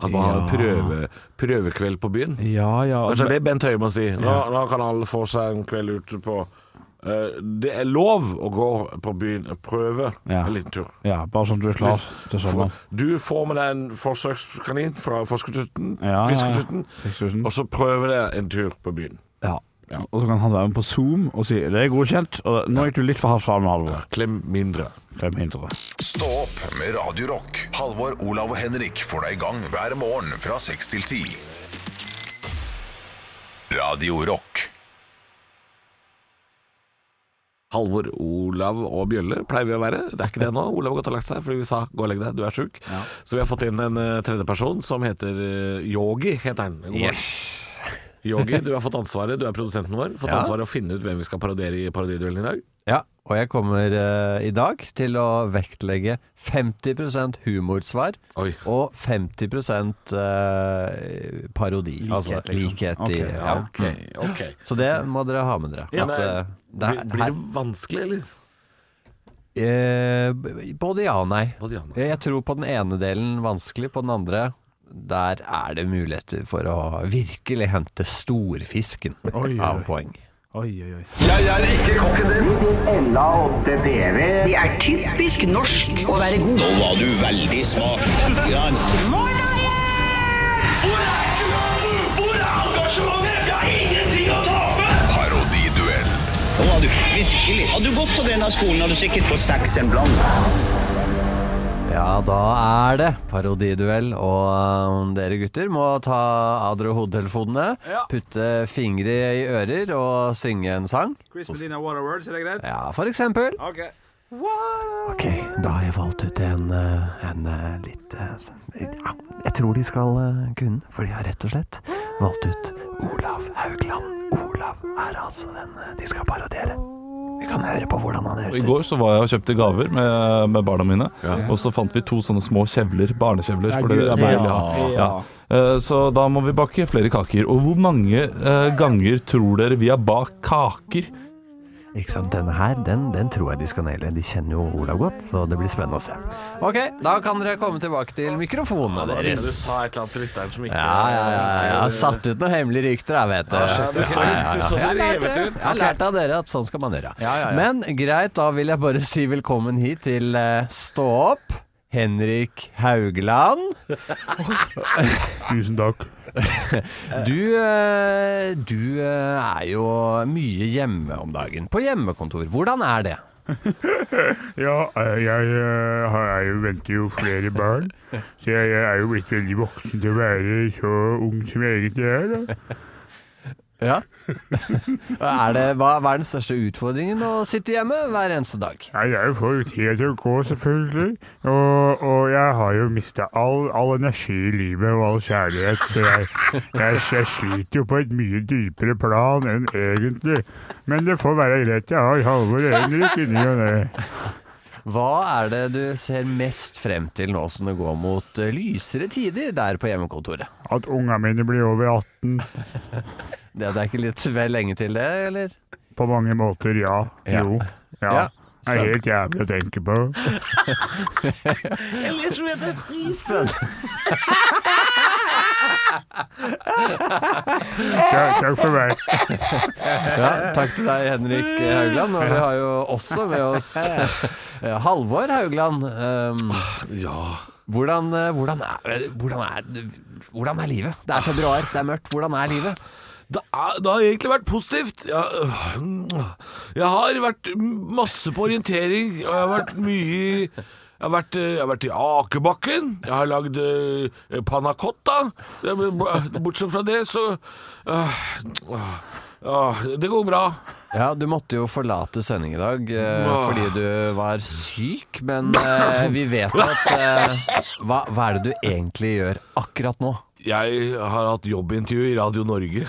E: At man har en prøve, prøvekveld på byen.
C: ja. ja.
E: Kanskje det er Bent Høie må si. Nå, nå kan alle få seg en kveld ute på eh, Det er lov å gå på byen og prøve
C: Ja.
E: en liten tur.
C: ja, bare sånn du er klar til sommeren.
E: Du får med deg en forsøkskanin fra Forskertutten,
C: Ja, ja, ja.
E: Fisketutten,
C: Fisketutten.
E: og så prøver deg en tur på byen.
C: Ja. Og så kan han være med på Zoom og si 'det er godkjent', og 'nå gikk du litt for hardt fram', Halvor.
E: Klem mindre.
C: Glem hinderet.
A: Stå opp med Radio Rock. Halvor, Olav og Henrik får deg i gang hver morgen fra 6 til 10. Radio Rock.
E: Halvor, Olav og Bjølle pleier vi å være. Det er ikke det nå. Olav har gått og lagt seg fordi vi sa 'gå og legg deg, du er sjuk'. Så vi har fått inn en eh, tredjeperson som heter eh, Yogi. heter han. God morgen. Yogi, du har fått ansvaret. Du er produsenten vår. Fått
D: Ja.
E: ansvaret å finne ut hvem vi skal parodiere i parodiduellen i dag.
D: Ja, og jeg kommer eh, i dag til å vektlegge 50 humorsvar
E: Oi.
D: og 50 eh, parodi. Likhet, Likhet i
C: Ok,
D: ja. Mm.
C: ja.
E: liksom. ok.
D: Så det må dere ha med dere.
E: Ja,
D: at, eh, det
E: Blir,
D: er-
E: blir det vanskelig, eller?
D: her- eh, b- både ja og nei.
E: Både ja og nei.
D: Jeg tror på den ene delen vanskelig, på den andre der er det muligheter for å virkelig hente storfisken
C: Oi, oi.
D: av poeng.
C: Oi, oi, oi.
K: Det er typisk norsk å være god. Nå var du veldig smart. Hvor er engasjementet? Hvor er engasjementet? Jeg har ingenting å tape!
A: Parodiduell.
K: Nå var du virkelig. Hadde du gått på denne skolen, hadde du sikkert fått seks en blant.
D: Ja, da er det parodiduell, og um, dere gutter må ta av dere hodetelefonene, putte fingre i ører og synge en sang.
C: Chris Medina Waterwords, er det greit?
D: Ja, for eksempel.
C: Ok.
D: Ok, da har jeg valgt ut en, eh, en eh, litt eh, s- ja, Jeg tror de skal eh, kunne, for de har rett og slett valgt ut Olav Haugland. Olav er altså den eh, de skal parodiere. Vi kan høre på hvordan han
L: I
D: høres
L: går
D: ut.
L: så var jeg og kjøpte gaver med, med barna mine, og så fant vi to sånne små kjevler, barnekjevler. For det er deilig å ha. Ja. Eh, Så da må vi bake flere kaker. Og hvor mange eh, ganger tror dere vi har bakt kaker?
D: Ikke sant, Denne her, den, den tror jeg de skal naile. De kjenner jo Olav godt, så det blir spennende å se. Ok, da kan dere komme tilbake til mikrofonene
E: Du
D: deres.
E: sa et eller annet til lytteren som ikke
D: Ja, ja, ja. Jeg har satt ut noen hemmelige rykter, jeg vet det.
E: shit, du så- du så
D: Jeg har lært
E: revet
D: det.
E: ut.
D: Jeg har lært av dere at sånn skal man gjøre.
C: ja, ja.
D: Men greit, da vil jeg bare si velkommen hit til eh, Stå opp. Henrik Haugland,
C: Tusen takk.
D: du, eh, du eh, er jo mye hjemme om dagen. På hjemmekontor. Hvordan er det?
M: Ja, eh, jeg, eh, har- jeg jo- venter jo flere barn, så jeg, jeg er jo blitt veldig voksen til å være så ung som jeg egentlig er. Da.
D: Ja. er det, hva, hva er den største utfordringen med å sitte hjemme hver eneste dag?
M: Nei, det er jo for tida til å gå, selvfølgelig. Og, og jeg har jo mista all, all energi i livet og all kjærlighet, så jeg, jeg, jeg sliter jo på et mye dypere plan enn egentlig. Men det får være greit. Jeg har Halvor og Henrik inni og det.
D: Hva er det du ser mest frem til nå som det går mot eh, lysere tider der på hjemmekontoret?
M: At unga mine blir over 18
D: Det, det er ikke litt vel lenge til det, eller?
M: på mange måter, ja.
D: Ja.
M: Jo.
D: Ja.
M: Ja. Det er helt jævlig å tenke på.
D: Spennende.
M: Takk, takk for meg.
D: Ja, takk til deg, Henrik Haugland. Og vi har jo også med oss eh, Halvor Haugland. ja hvordan, eh, hvordan, er, hvordan, er, hvordan er livet? Det er februar, det er mørkt. Hvordan er livet?
E: Det, er, det har egentlig vært positivt. Jeg, øh, jeg har vært masse på orientering, og jeg har vært mye i- jeg har, vært, øh, jeg har vært i akebakken, jeg har lagd øh, panna cotta. Ja, men b- Bortsett fra det, så øh, øh, øh, Det går bra.
D: Ja, Du måtte jo forlate sending i dag eh,
E: Åh.
D: fordi du var syk, men eh, vi vet at eh, hva, hva er det du egentlig gjør akkurat nå?
E: Jeg har hatt jobbintervju i Radio Norge.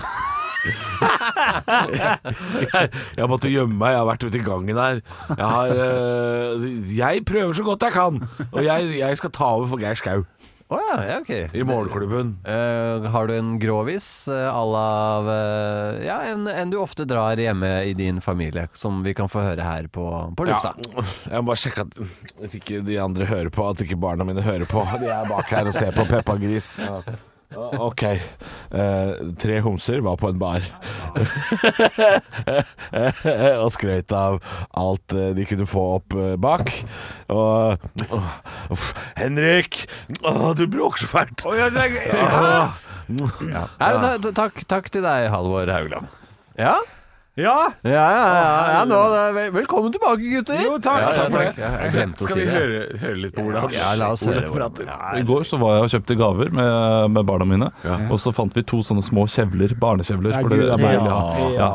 E: jeg, jeg måtte gjemme meg, jeg har vært ute i gangen her. Jeg, har, eh, jeg prøver så godt jeg kan, og jeg, jeg skal ta over for Geir Skau.
D: Å ja, ja, ok.
E: I morgenklubben.
D: Eh, har du en grovis eh, à la eh, Ja, en, en du ofte drar hjemme i din familie, som vi kan få høre her på, på lufta.
E: Ja, jeg må bare sjekke at, at ikke de andre hører på, at ikke barna mine hører på. De er bak her og ser på Peppa Gris. Ok. Eh, tre homser var på en bar og skrøt av alt eh, de kunne få opp eh, bak. Og Åh, uff, Henrik! Åh, du bråker så fælt! Åh. Ja.
D: Nei, men ta- ta- takk, takk til deg, Halvor Haugland. Ja?
C: Ja?
D: Ja, ja, ja, ja nå, da, vel- velkommen tilbake, gutter. Jo,
C: takk.
D: Ja, ja,
C: Takk for
D: takk. Ja, jeg glemte å
E: Skal
D: si
E: vi
D: det.
E: høre, høre litt på hvordan
D: Ja, la oss
E: hvordan
D: høre hvordan-
E: prater?
J: I går så var jeg og kjøpte gaver med, med barna mine, og så fant vi to sånne små kjevler, barnekjevler.
E: Ja,
J: for det
E: gud,
J: er
E: ja.
J: deilig å ha.
E: Ja.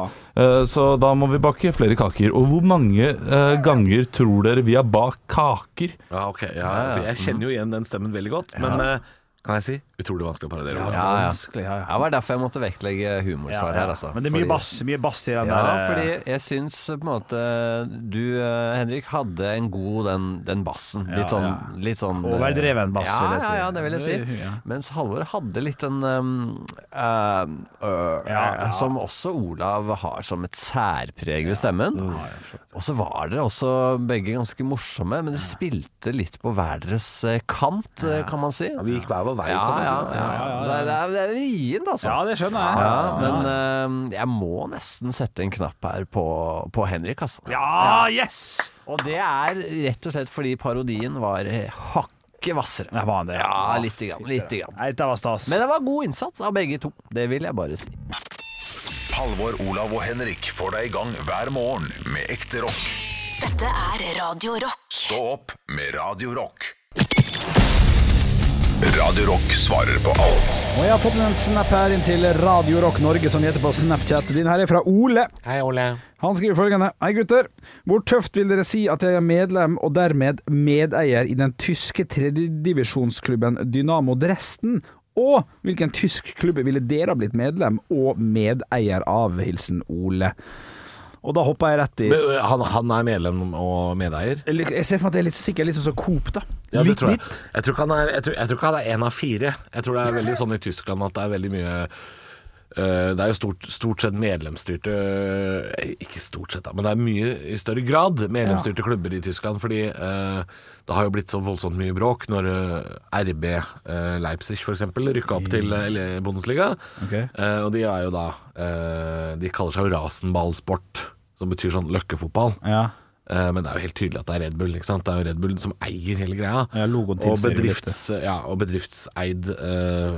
J: Eh, Så da må vi bake flere kaker. Og hvor mange eh, ganger tror dere vi har bakt kaker?
E: Ja, ok. Ja, for Jeg kjenner jo igjen den stemmen veldig godt, men eh, kan jeg si utrolig vanskelig å parodiere.
D: Ja,
E: Olav.
D: ja. Ja, Det var derfor jeg måtte vektlegge humorsvar her, altså.
C: Men det er mye
D: Fordi-
C: bass, mye bass i den
D: Ja,
C: der. eh,
D: fordi jeg syns eh, på en måte du, eh, Henrik, hadde en god den, den bassen.
C: Ja,
D: Litt sånn,
C: ja.
D: litt sånn eh,
C: Overdreven bass,
D: ja,
C: vil jeg si.
D: Ja, ja, det vil jeg si.
C: Ja.
D: Mens Halvor hadde litt en um, um, øh,
C: ja.
D: Som også Olav har som et særpreg ved stemmen. Og så var dere også begge ganske morsomme, men dere spilte litt på hver deres eh, kant, eh, kan man si.
E: Vi gikk hver vår vei.
D: Ja,
E: kan
D: ja,
E: man si.
D: ja. Så Det er, det er vrient, altså.
C: Ja, det skjønner jeg.
D: Ja, men eh, jeg må nesten sette en knapp her på, på Henrik, altså.
C: Ja, yes!
D: Og det er rett og slett fordi parodien var eh, hakket hvassere.
C: Ja, var han det?
D: Ja, lite grann. Lite grann.
C: Nei, det var stas.
D: Men det var god innsats av begge to. Det vil jeg bare si.
A: Halvor, Olav og Henrik får deg i gang hver morgen med ekte rock.
B: Dette er Radio Rock.
A: Stå opp med Radio Rock. Radio Rock svarer på alt.
N: Og jeg har fått en snap her inn til Radio Rock Norge, som heter på Snapchat. Din her er fra Ole.
E: Hei, Ole.
N: Han skriver følgende Hei gutter, hvor tøft vil dere si at jeg er medlem og dermed medeier i den tyske tredjedivisjonsklubben Dynamo Dresden? Og hvilken tysk klubb ville dere ha blitt medlem og medeier av? Hilsen Ole. Og da hopper jeg rett i
E: Men, eh, han, han er medlem og medeier?
N: Eller, Jeg ser for meg at det er litt sikkert litt sånn som Coop, da.
E: Ja, det
N: litt
E: tror jeg. Jeg tror, ikke han er, jeg, tror, jeg tror ikke han er en av fire. Jeg tror det er veldig sånn i Tyskland at det er veldig mye eh, det er jo stort, stort sett medlemsstyrte eh, Ikke stort sett, da, men det er mye i større grad medlemsstyrte klubber i Tyskland. Fordi eh, det har jo blitt så voldsomt mye bråk når eh, RB eh, Leipzig f.eks. rykka opp til eh, Le- Bundesliga.
N: Ok.
E: Eh, og de er jo da eh, De kaller seg jo rasenballsport, som betyr sånn løkkefotball.
C: Ja.
E: Eh, men det er jo helt tydelig at det er Red Bull. Ikke sant? Det er jo Red Bull som eier hele greia.
C: Ja, logoen
E: og,
C: tilsier jo litt det.
E: bedrifts, ja, og bedriftseid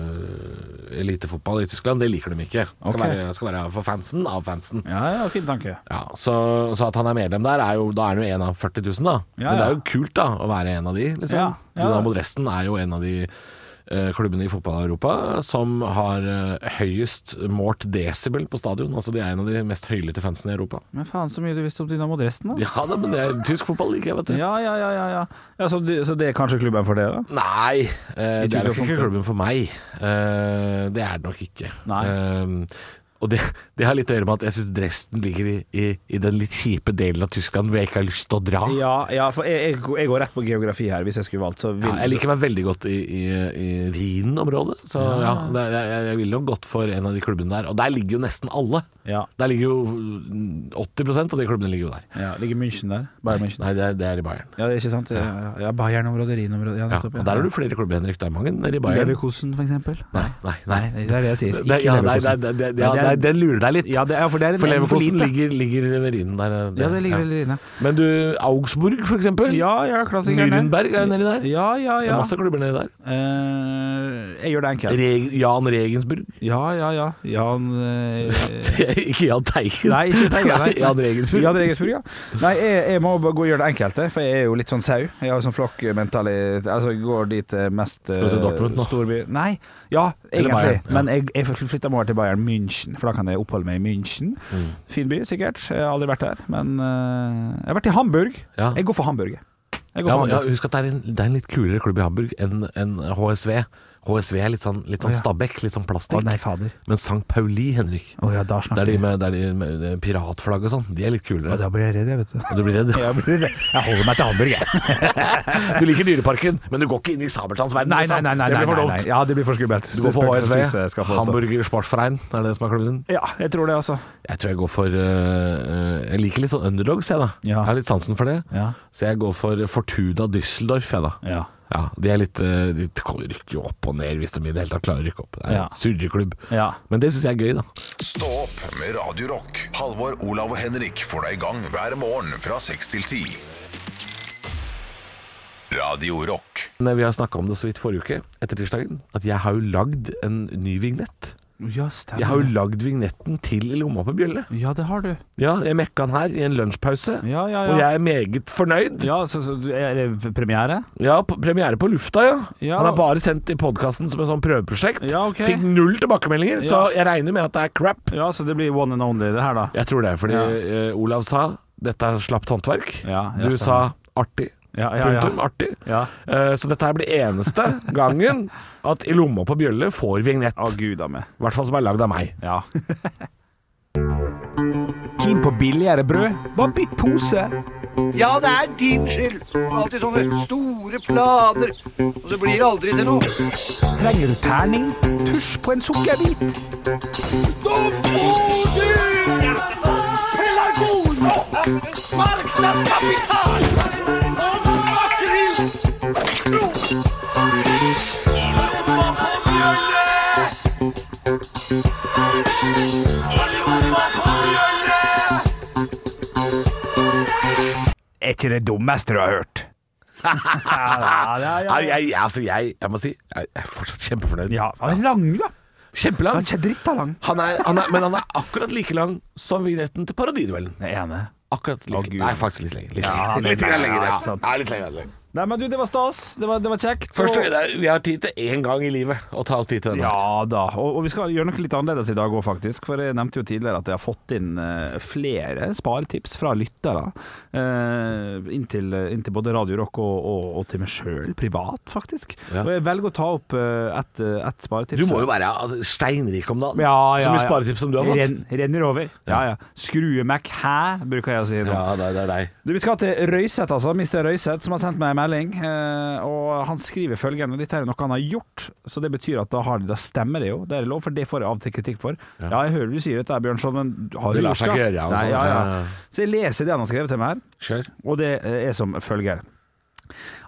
E: eh, elitefotball i Tyskland, det liker de ikke. Skal,
C: Ok.
E: være, skal være for fansen av fansen.
C: Ja, ja, fin tanke.
E: Ja, så, så at han er medlem der, er jo, da er han jo en av 40 000, da.
C: Ja,
E: Men det er
C: ja.
E: jo kult da å være en av de. Liksom.
C: Ja, ja.
E: Dynamo Dresden er jo en av de eh, klubbene i fotball-Europa som har eh, høyest målt desibel på stadion. Altså De er en av de mest høylytte fansen i Europa.
C: Men faen, så mye du visste om Dynamo Dresden, da.
E: Ja da, men det er tysk fotball liker jeg, vet du.
C: Ja, ja, ja. ja, ja. ja så, du, så det er kanskje klubben for det, da?
E: Nei, eh,
C: I
E: det er nok ikke
C: utgangspunktet.
E: klubben for meg. Eh, det er det nok ikke.
C: Nei.
E: Eh, Og det, det har litt å gjøre med at jeg syns Dresden ligger i, i, i den litt kjipe delen av Tyskland hvor jeg ikke har lyst til å dra.
C: Ja, ja for jeg, jeg, jeg går rett på geografi her, hvis jeg skulle valgt. Så vil,
E: Ja, jeg liker meg veldig godt i, i, i Rhin-området. Så ja, det, jeg, jeg- jeg ville jo gått for en av de klubbene der. Og der ligger jo nesten alle. Der ligger jo mm, 80 av de klubbene ligger jo der.
C: Ja, ligger München der? Bayern München?
E: Nei, det er, det er i Bayern.
C: Ja, det er ikke sant? Ja, ja, ja Bayern-området, Rhin-området. Ja,
E: Ja,
C: nettopp.
E: og der har du flere klubber, Henrik. Det er mange nede i Bayern.
C: Leverkosen, for eksempel?
E: Nei, nei, nei.
C: Nei, det er det jeg sier.
E: Det,
C: Ikke
E: ja, nei,
C: Leverkusen.
E: det, det, det,
C: Ja,
E: ja,
C: det er-
E: nei, den lurer deg litt.
C: Ja, det er, for det er en-
E: For
C: en for
E: Leverkosten
C: lite.
E: ligger, ligger ved Rhinen der. eh,
C: Ja, det ligger vel inne.
E: Men du, Augsburg for eksempel?
C: Ja, ja, klassikerne.
E: Nürnberg er jo nedi der.
C: Ja, ja,
E: Det
C: ja.
E: er masse klubber nedi der.
C: Eh, jeg gjør det enkelt.
E: Reg, Jan Regensburg.
C: Ja, ja, ja. Jan eh,
E: ikke Jan Teigen.
C: Nei, ikke Teigen. Nei.
E: Jan Regensburg.
C: Jan Regensburg, ja. Nei, jeg, jeg må bare gå og gjøre det enkelte, for jeg er jo litt sånn sau. Jeg har sånn flokkmentalitet Altså, jeg går dit eh, mest
E: Skal du til
C: eh,
E: Dortmund nå?
C: Storby Nei, ja,
E: Eller
C: egentlig.
E: Bayern, ja.
C: Men jeg, jeg flytta meg over til Bayern München, for da kan jeg oppholde meg i München.
E: Mm.
C: Fin by, sikkert. Jeg har aldri vært der. Men eh, jeg har vært i Hamburg.
E: Ja.
C: Jeg går for Hamburg, jeg. jeg. Går
E: Ja,
C: for
E: men, ja,
C: Hamburg.
E: husk at det er, en, det er en litt kulere klubb i Hamburg enn enn HSV. HSV er litt sånn, litt sånn
C: Å, ja.
E: Stabæk, litt sånn plastikk.
C: Å, nei, fader.
E: Men St. Pauli, Henrik,
C: Å, ja, da
E: det
C: snakker
E: er de
C: vi.
E: med, det er de med eh, piratflagg og sånn, de er litt kulere.
C: Ja, Da blir jeg redd, jeg, vet du.
E: Og du blir redd?
C: Jeg, blir redd. jeg holder meg til Hamburg, jeg.
E: Du liker Dyreparken, men du går ikke inn i Sabeltanns verden.
C: Nei, nei,
E: liksom.
C: nei, nei,
E: det
C: nei,
E: blir for
C: nei,
E: dumt.
C: nei. Ja, det blir for skummelt.
E: Du går for HSV.
C: Skal få stå.
E: Hamburger Sportverein, er det det som er klubben din?
C: Ja, jeg tror det, altså.
E: Jeg tror jeg går for eh, eh, Jeg liker litt sånn underdogs, jeg, da. Jeg har litt sansen for det.
C: Ja.
E: Så jeg går for Fortuna Düsseldorf, jeg, da.
C: Ja.
E: Ja, de er litt eh, De rykker jo opp og ned, hvis de i det hele tatt klarer å rykke opp. Det er
C: Ja.
E: en surreklubb.
C: Ja.
E: Men det syns jeg er gøy, da.
A: Stå opp med Radio Rock. Halvor, Olav og Henrik får deg i gang hver morgen fra 6 til 10. Radio Rock.
E: Men eh, Vi har snakka om det så vidt forrige uke, etter tirsdagen, at jeg har jo lagd en ny vignett.
C: Ja, stemmer.
E: Jeg har jo lagd vignetten til Lomma på bjølle.
C: Ja, det har du.
E: Ja, jeg mekka den her i en lunsjpause,
C: Ja, ja, ja.
E: og jeg er meget fornøyd.
C: Ja, så, så du- er det premiere?
E: Ja, p- premiere på lufta, ja.
C: Ja.
E: Han er bare sendt i podkasten som et sånn prøveprosjekt.
C: Ja, ok.
E: Fikk null tilbakemeldinger, så jeg regner med at det er crap.
C: Ja, så det blir one and only, det her, da.
E: Jeg tror det, fordi
C: Ja.
E: eh, Olav sa dette er slapt håndverk.
C: Ja, ja,
E: du sa
C: stemmer.
E: artig.
C: Ja, ja, ja.
E: Punktum artig.
C: Ja.
E: Eh, så dette her blir eneste gangen at I lomma på bjølle får vignett.
C: Å, gud a meg.
E: I hvert fall som er lagd av meg.
C: Ja. Keen på billigere brød? Bare bytt pose.
H: Ja, det er din skyld. Alltid sånne store planer, og så blir det aldri til noe.
C: Trenger du terning? Tusj på en sukkerbit.
H: Da får du pelargon og markedskapital og makrell!
C: Er ikke det dummeste du har hørt?
E: Nei, Jeg, altså, jeg, jeg må si jeg jeg er fortsatt kjempefornøyd.
C: Ja, han er lang, da.
E: Kjempelang.
C: Han er ikke dritta lang.
E: Han er, han er, men han er akkurat like lang som vignetten til Parodiduellen.
C: Jeg er enig.
E: Akkurat like
C: Gud.
E: Nei, faktisk litt lenger. Litt
C: Ja,
E: lenger,
C: det-
E: litt grann
C: ja,
E: lenger, ja.
C: ikke sant.
E: Ja, litt lenger, lenger.
C: Nei, men du, det var stas. Det var, det var kjekt.
E: Først,
C: Og-
E: det er- vi har tid til én gang i livet å ta oss tid til denne.
C: Ja da, og, og vi skal gjøre noe litt annerledes i dag òg, faktisk. For jeg nevnte jo tidligere at jeg har fått inn eh, flere sparetips fra lyttere. eh, inn til- inn til både Radio Rock og, og, og til meg sjøl, privat, faktisk.
E: Ja.
C: Og jeg velger å ta opp eh, ett et sparetips.
E: Du må jo være altså, steinrik om dagen.
C: ja, ja,
E: så mye
C: ja.
E: sparetips som du har fått.
C: Ren, renner over. Ja, ja. Skrue-Mac hæ, bruker jeg å si nå.
E: Ja, det er, det er deg.
C: Du, Vi skal til Røiseth, altså. Mr. Røiseth, som har sendt meg en melding. eh, Og han skriver følgende Dette er jo noe han har gjort, så det betyr at da, har, da stemmer det jo. Det er lov, for det får jeg av og til kritikk for. Ja, jeg hører du sier dette, Bjørnson, men du har
E: Det
C: jo
E: lar
C: gjort
E: seg
C: det.
E: ikke gjøre, ja, og
C: Nei,
E: sånn.
C: ja,
E: Ja, ja.
C: ja. Så jeg leser det han har skrevet til meg her,
E: Kjør.
C: og det eh, er som følger.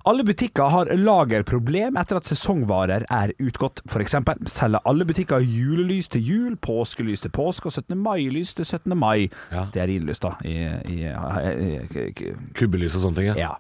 C: Alle butikker har lagerproblem etter at sesongvarer er utgått. For eksempel selger alle butikker julelys til jul, påskelys til påske og 17. mai-lys til 17. mai. Stearinlys, da. I, i, i, i,
E: Kubbelys og sånne ting,
C: ja.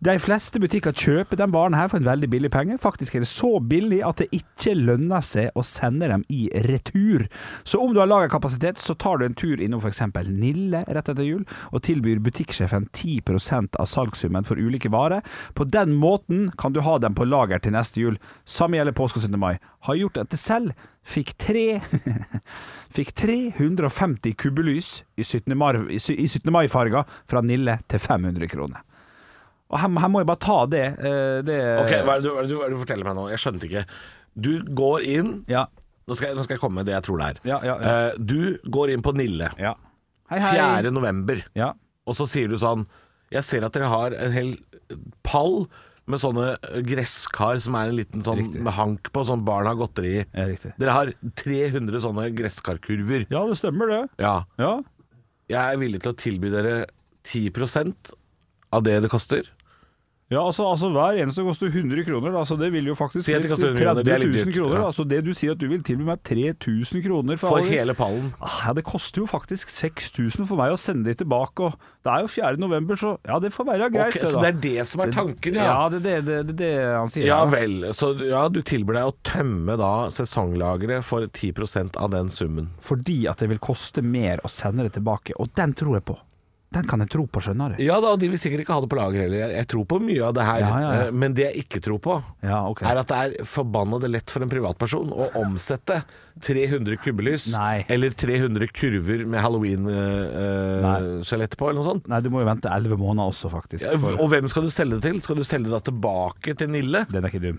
C: De fleste butikker kjøper den varen her for en veldig billig penge. Faktisk er det så billig at det ikke lønner seg å sende dem i retur. Så om du har lagerkapasitet, så tar du en tur innom f.eks. Nille rett etter jul, og tilbyr butikksjefen 10 av salgssummen for ulike varer. På den måten kan du ha dem på lager til neste jul. Samme gjelder påske og 17. mai. Har gjort dette selv. Fikk tre Fikk 350 kubbelys i 17. mar- i sy- i 17. mai-farger fra Nille til 500 kroner. Og her, her må jeg bare ta det, eh, det
E: Ok, hva er, det, du- hva, er det, du- hva er det du forteller meg nå? Jeg skjønte ikke. Du går inn,
C: Ja.
E: Nå skal, jeg, nå skal jeg komme med det jeg tror det er.
C: ja,
E: Eh, du går inn på Nille.
C: Hei, hei.
E: 4. november. Og så sier du sånn Jeg ser at dere har en hel pall med sånne gresskar som er en liten sånn med hank på, sånn barn har godteri i. dere har 300 sånne gresskarkurver.
C: Ja, det stemmer det.
E: Ja. Jeg er villig til å tilby dere 10 av det det koster.
C: Ja, altså, altså Hver eneste koster 100 kroner. da, så det vil jo faktisk
E: Si at det koster 100 kroner, det er
C: 30
E: litt
C: 000
E: dyrt,
C: kroner.
E: ja.
C: da, så det du sier at du vil tilby meg 3000 kroner
E: For
C: alle-
E: hele pallen.
C: Ah, Ja, Det koster jo faktisk 6000 for meg å sende de tilbake. og Det er jo 4. november, så ja, det får være greit.
E: Ok, så det er det som er tanken,
C: ja.
E: ja.
C: Ja, det er det, det, det, det han sier.
E: Ja
C: da.
E: vel. Så ja, du tilbyr deg å tømme da sesonglageret for 10 av den summen.
C: Fordi at det vil koste mer å sende det tilbake. Og den tror jeg på. Den kan jeg tro på, skjønner du.
E: Ja da, og de vil sikkert ikke ha det på lager heller. Jeg, jeg tror på mye av det her.
C: Ja, ja, ja.
E: eh, Men det jeg ikke tror på,
C: Ja, ok.
E: er at det er forbannede lett for en privatperson å omsette 300 kubbelys eller 300 kurver med halloween-skjelett på, eller noe sånt.
C: Nei, du må jo vente 11 måneder også, faktisk.
E: Ja,
C: for-
E: Og hvem skal du selge det til? Skal du selge det da tilbake til Nille?
C: Den er ikke dum.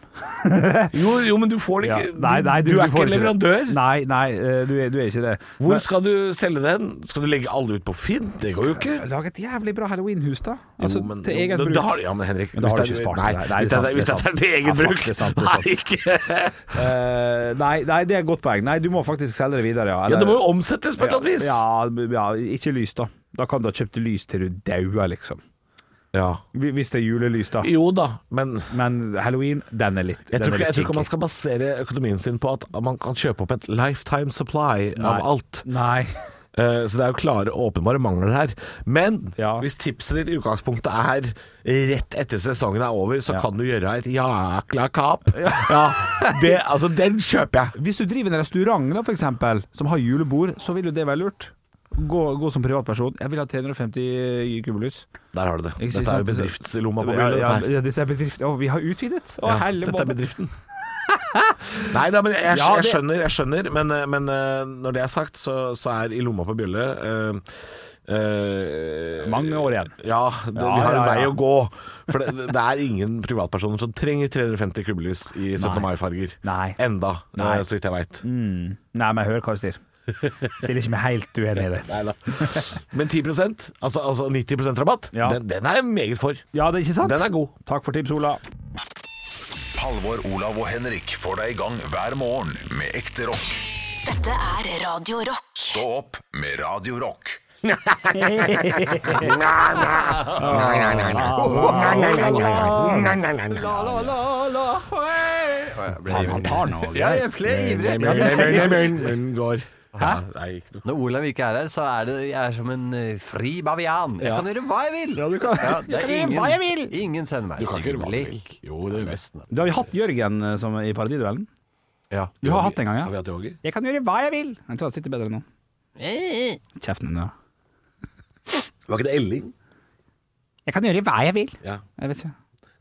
E: jo, jo, men du får det
C: Ja.
E: ikke.
C: Nei, nei,
E: du, er ikke
C: får
E: leverandør.
C: Det. Nei, nei, eh, du er, du er ikke det.
E: Hvor skal du selge den? Skal du legge alle ut på Finn? Det går jo ikke.
C: Lag et jævlig bra halloweenhus, da. Altså,
E: Jo, men-
C: til
E: jo,
C: eget
E: da-
C: bruk.
E: da har- ja, men Henrik,
C: da
E: hvis
C: har du
E: det er-
C: ikke spart
E: nei,
C: det.
E: hvis det er- hvis det er til eget
C: Ja, fuck,
E: bruk.
C: det er sant, det er sant.
E: Nei, ikke.
C: Eh, nei, nei, det er et godt poeng. Nei, du må faktisk selge det videre. Ja,
E: Ja, det må jo omsettes på et eller annet vis.
C: Ja, ja, ikke lys, da. Da kan du ha kjøpt lys til du dauer, liksom.
E: Ja.
C: Hvis det er julelys, da.
E: Jo da, men
C: halloween, den er litt den
E: Jeg
C: er
E: tror,
C: litt
E: ikke, jeg tror ikke
C: kinky.
E: man skal basere økonomien sin på at man kan kjøpe opp et lifetime supply
C: Nei.
E: av alt. Eh,
C: Nei.
E: Så det er jo klare, åpenbare mangler her. Men hvis tipset ditt i utgangspunktet er rett etter sesongen er over, så kan du gjøre et jækla kap. Ja. det, altså, den kjøper jeg.
C: Hvis du driver en restaurant da, for eksempel, som har julebord, så vil jo det være lurt. Gå, gå som privatperson. Jeg vil ha 350 kubbelys.
E: Der har du det.
C: Ikke
E: Dette
C: sant?
E: er jo bedriftslomma
C: Ja,
E: på gulvet.
C: ja,
E: dette her.
C: ja, dette er bedrift. Å, vi har utvidet. Å,
E: Ja,
C: helle
E: dette er
C: måte.
E: bedriften. Nei da, men jeg, jeg,
C: Ja, det-
E: skjønner, jeg skjønner. Men, eh, men eh, når det er sagt, så, så er i lomma på bjølle eh, eh,
C: Mange år igjen.
E: Ja, det,
C: Ja,
E: vi har en
C: ja,
E: vei
C: ja.
E: å gå. For det, det er ingen privatpersoner som trenger 350 kubbelys i 17.
C: Nei.
E: mai-farger.
C: Nei.
E: Enda, eh,
C: Nei.
E: så vidt jeg veit.
C: Mm. Nei, men jeg hører hva du sier. Stiller ikke meg helt uenig i det.
E: Men 10 altså, altså 90 rabatt, den, den er jeg meget for.
C: Ja, det er ikke sant?
E: Den er god.
C: Takk for tips, Ola.
A: Halvor, Olav og Henrik får deg i gang hver morgen med ekte rock.
B: Dette er Radio Rock.
A: Stå opp med Radio Rock.
D: Han tar nå. Ja, jeg ble ivrig.
E: Går.
D: Hæ?
E: Nei, ikke noe.
D: Når Olav ikke er her, så er det, jeg er som en eh, fri bavian. Jeg
E: Ja.
D: kan gjøre hva jeg vil! Ja, det
E: Jeg
D: er
E: kan gjøre
D: ingen,
E: hva jeg vil.
D: Ingen sender meg
E: Du kan ikke gjøre hva du vil.
D: blikk.
E: Jo, det er nesten.
C: Da har vi hatt Jørgen eh, som i Paradiduellen.
D: Ja.
C: Du har hatt en gang, ja?
E: Har vi hatt yogi?
C: Jeg kan gjøre hva jeg vil. Jeg tror han sitter bedre nå. Kjeften din, ja.
E: Var ikke det Elling?
C: Jeg kan gjøre hva jeg vil.
E: Ja.
C: Jeg vet ikke.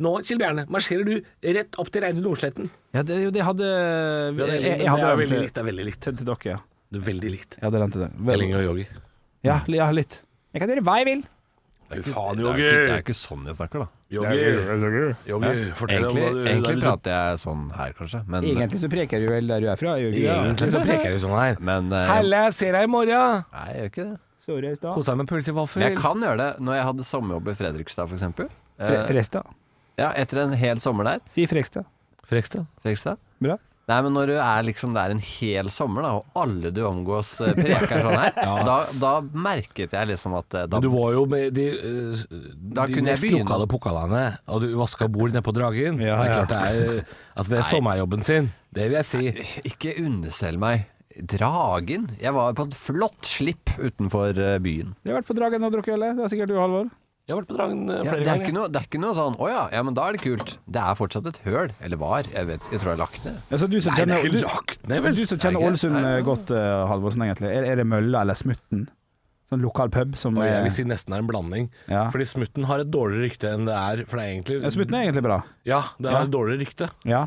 E: Nå, Kjell Bjerne, marsjerer du rett opp til Reine Nordsletten.
C: Ja, det, jo, det hadde
E: Ja, det er
C: Jeg,
E: veldig-
C: jeg,
E: det
C: hadde
E: er
C: den
E: veldig
C: til-
E: likt, det er veldig likt.
C: Til, til dere, ja.
E: Det er veldig likt.
C: Jeg hadde den til deg. Vel-
E: Elling og Yogi.
C: Ja, li- ja, litt. Jeg kan gjøre hva jeg vil.
E: Faen,
D: Det er, jo
E: Yogi!
D: ikke, det er jo ikke sånn jeg snakker, da.
E: Yogi. Yogi,
D: Hæ?
E: fortell om
D: egentlig,
E: hva du-
D: egentlig
E: hva du-
D: prater jeg sånn her, kanskje. Men,
C: Egentlig så preker du vel der du er fra. gjør du ikke det?
D: Egentlig så preker jeg sånn her. Men, eh,
E: jeg ser deg i morgen!
D: Nei, jeg gjør ikke det.
C: Sorry, i stad.
E: deg med pølse i vaffel.
D: Men jeg kan gjøre det når jeg hadde sommerjobb i Fredrikstad, for eksempel.
C: Fre-
D: Eh,
C: Frekstad.
D: Ja, etter en hel sommer der.
C: Si Frekstad.
E: Frekstad.
D: Frekstad.
C: Bra.
D: Nei, men når du er liksom der en hel sommer, da, og alle du omgås eh, preker sånn her,
E: Ja.
D: da, da merket jeg liksom at eh, da,
E: Men du var jo med de, eh, s-
D: Da
E: de
D: kunne jeg
E: mest
D: begynne.
E: lokale pukkalene, og du vaska bord nede på Dragen. det er
D: ja.
E: klart det er eh, Altså, det er
D: Nei.
E: sommerjobben sin. Det vil jeg si.
D: Ikke underselg meg. Dragen? Jeg var på et flott slipp utenfor eh, byen.
C: Du har vært på Dragen og drukket øl, eh. det er sikkert du, Halvor.
E: Jeg har vært på Dragen eh,
D: Ja,
E: flere
D: det, er ikke
E: ganger.
D: noe, det er ikke noe sånn 'Å ja, ja, men da er det kult'. Det er fortsatt et høl. Eller var. Jeg, vet, jeg tror jeg har lagt ned.
C: Altså, du som
D: Nei, det
C: kjenner,
D: er
C: du,
D: ikke lagt ned, vel?
C: du som kjenner
D: Nei, ikke.
C: Ålesund eh, godt, eh, Halvorsen, egentlig. Er, er det Mølla eller Smutten? Sånn lokal pub som
E: Og jeg
C: er
E: vil si nesten er en blanding.
C: Ja.
E: Fordi Smutten har et dårligere rykte enn det er. For det er egentlig
C: ja, Smutten er egentlig bra.
E: Ja, det har
C: Ja.
E: et dårligere rykte.
C: Ja.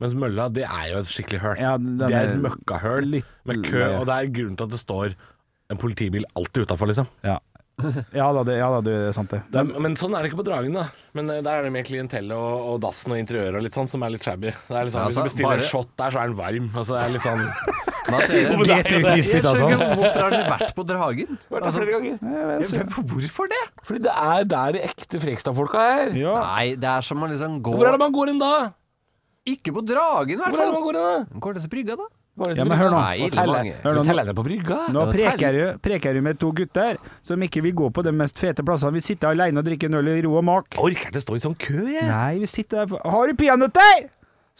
E: Mens mølla, det er jo et skikkelig høl.
C: Ja, den
E: det er
C: er
E: et møkkahøl med kø,
C: leie.
E: og det er grunnen til at det står en politibil alltid utafor, liksom.
C: Ja. Ja da, det, ja, da, det er sant det.
E: Det er, men sånn er det ikke på Dragen, da. Men eh, der er det mer klientelle og, og dassen og interiøret og litt sånn som er litt shabby. Det er litt sånn,
D: Ja,
E: hvis du
D: altså,
E: bestiller
D: bare-
E: en shot der, så er den varm. Altså, det er litt sånn
D: Men at dere-
E: Jo, men det er jo
C: altså.
E: det.
D: Jeg skjønner ikke Hvorfor har dere vært på Dragen?
E: Vært der flere ganger.
D: Ja, men Hvorfor det?
E: Fordi det er der de ekte Frekstad-folka er.
D: Nei, det er som å liksom gå
E: Hvor er det man går inn da?
D: Ikke på Dragen, i hvert
E: Hvor er
D: fall.
E: det man går inn da?
D: Går det til brygga, da?
C: Ja, men hør nå.
D: Nei,
C: Hør nå.
D: mange.
C: Hør nå.
E: Skal vi telle det på brygga?
C: Nå
D: Ja,
C: preker du, preker du med to gutter som ikke vil gå på de mest fete plassene. Vi sitter alene og drikker en øl i ro og mak.
E: Jeg orker ikke stå i sånn kø, jeg.
C: Nei, vi sitter der for Har du peanøtter?!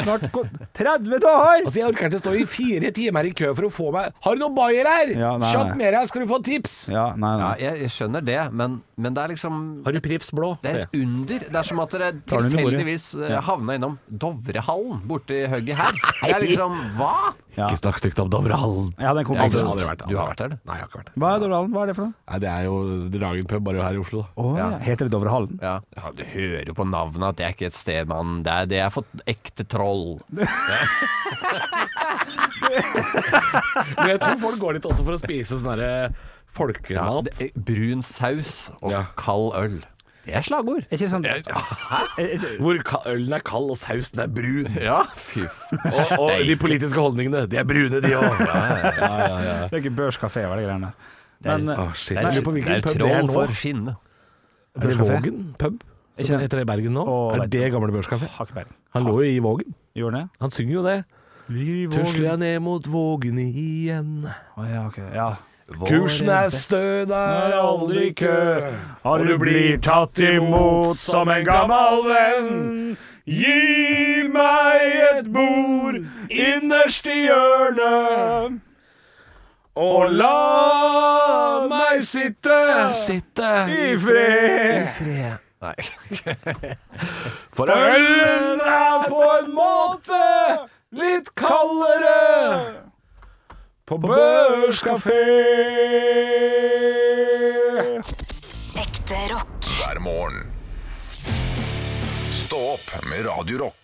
C: Snart ko- 30 dager!
E: Altså, Jeg orker ikke stå i fire timer i kø for å få meg Har du noen bayer her?
C: Ja, nei,
E: Kjapt
C: nei.
E: med deg, skal du få tips!
C: Ja, nei,
D: Ja,
C: nei.
D: jeg, jeg skjønner det, men, men det er liksom
E: Har du Prips blå?
D: Det er et under. Det er som at dere
C: Tar den i bordet.
D: tilfeldigvis eh, havna innom Dovrehallen borti hugget her. Det er liksom Hva? Altså,
C: Ja.
E: Ikke snakk stygt om Dovrehallen.
C: Jeg hadde en
E: Jeg
C: kompis
E: har aldri vært der.
D: Du har vært der, du.
E: Nei, jeg har ikke vært der.
C: Hva er Dovrehallen? Hva er det for noe?
E: Nei, Det er jo Dragen pub, bare her i Oslo, da.
C: Å, ja. Heter det Dovrehallen?
D: Ja. ja, du hører jo på navnet at det er ikke et sted man Det er, det er for ekte troll.
E: Men jeg tror folk går dit også for å spise sånn derre
D: Ja,
E: folkemat.
D: det er brun saus og
E: Ja.
D: kald øl. Det er slagord.
C: Er ikke det sånn
E: Hvor ka- ølen er kald og sausen er brun.
D: Ja, fy f...
E: Og, og de politiske holdningene, de er brune, de òg. Ja, ja, ja.
C: Det er ikke børskafé, hva er det greiene der? Men, eh,
E: Å, shit.
D: Det
E: Jeg
D: er,
E: lurer på
D: det
E: hvilken
D: er
E: pub det er
D: troll
E: nå.
D: for skinnet.
E: Er det
C: Børskafé?
E: Vågen pub?
C: Ikke
E: Som
C: den.
E: heter det i Bergen nå?
C: Å,
E: Er
C: vet
E: det gamle børskafé?
C: har ikke peiling.
E: Han lå jo i Vågen.
C: Gjorde den det?
E: Han synger jo det. Tusler jeg ned mot Vågen igjen.
C: Å ja, ok. Ja.
E: Kursen er stø, det er aldri kø.
C: Og du blir tatt imot som en gammel venn.
E: Gi meg et bord innerst i hjørnet. Og la meg sitte, i fred.
D: Nei.
E: For ølen er på en måte litt kaldere på Børs kafé.
B: Ekte rock.
A: hver morgen. Stå opp med Radio Rock.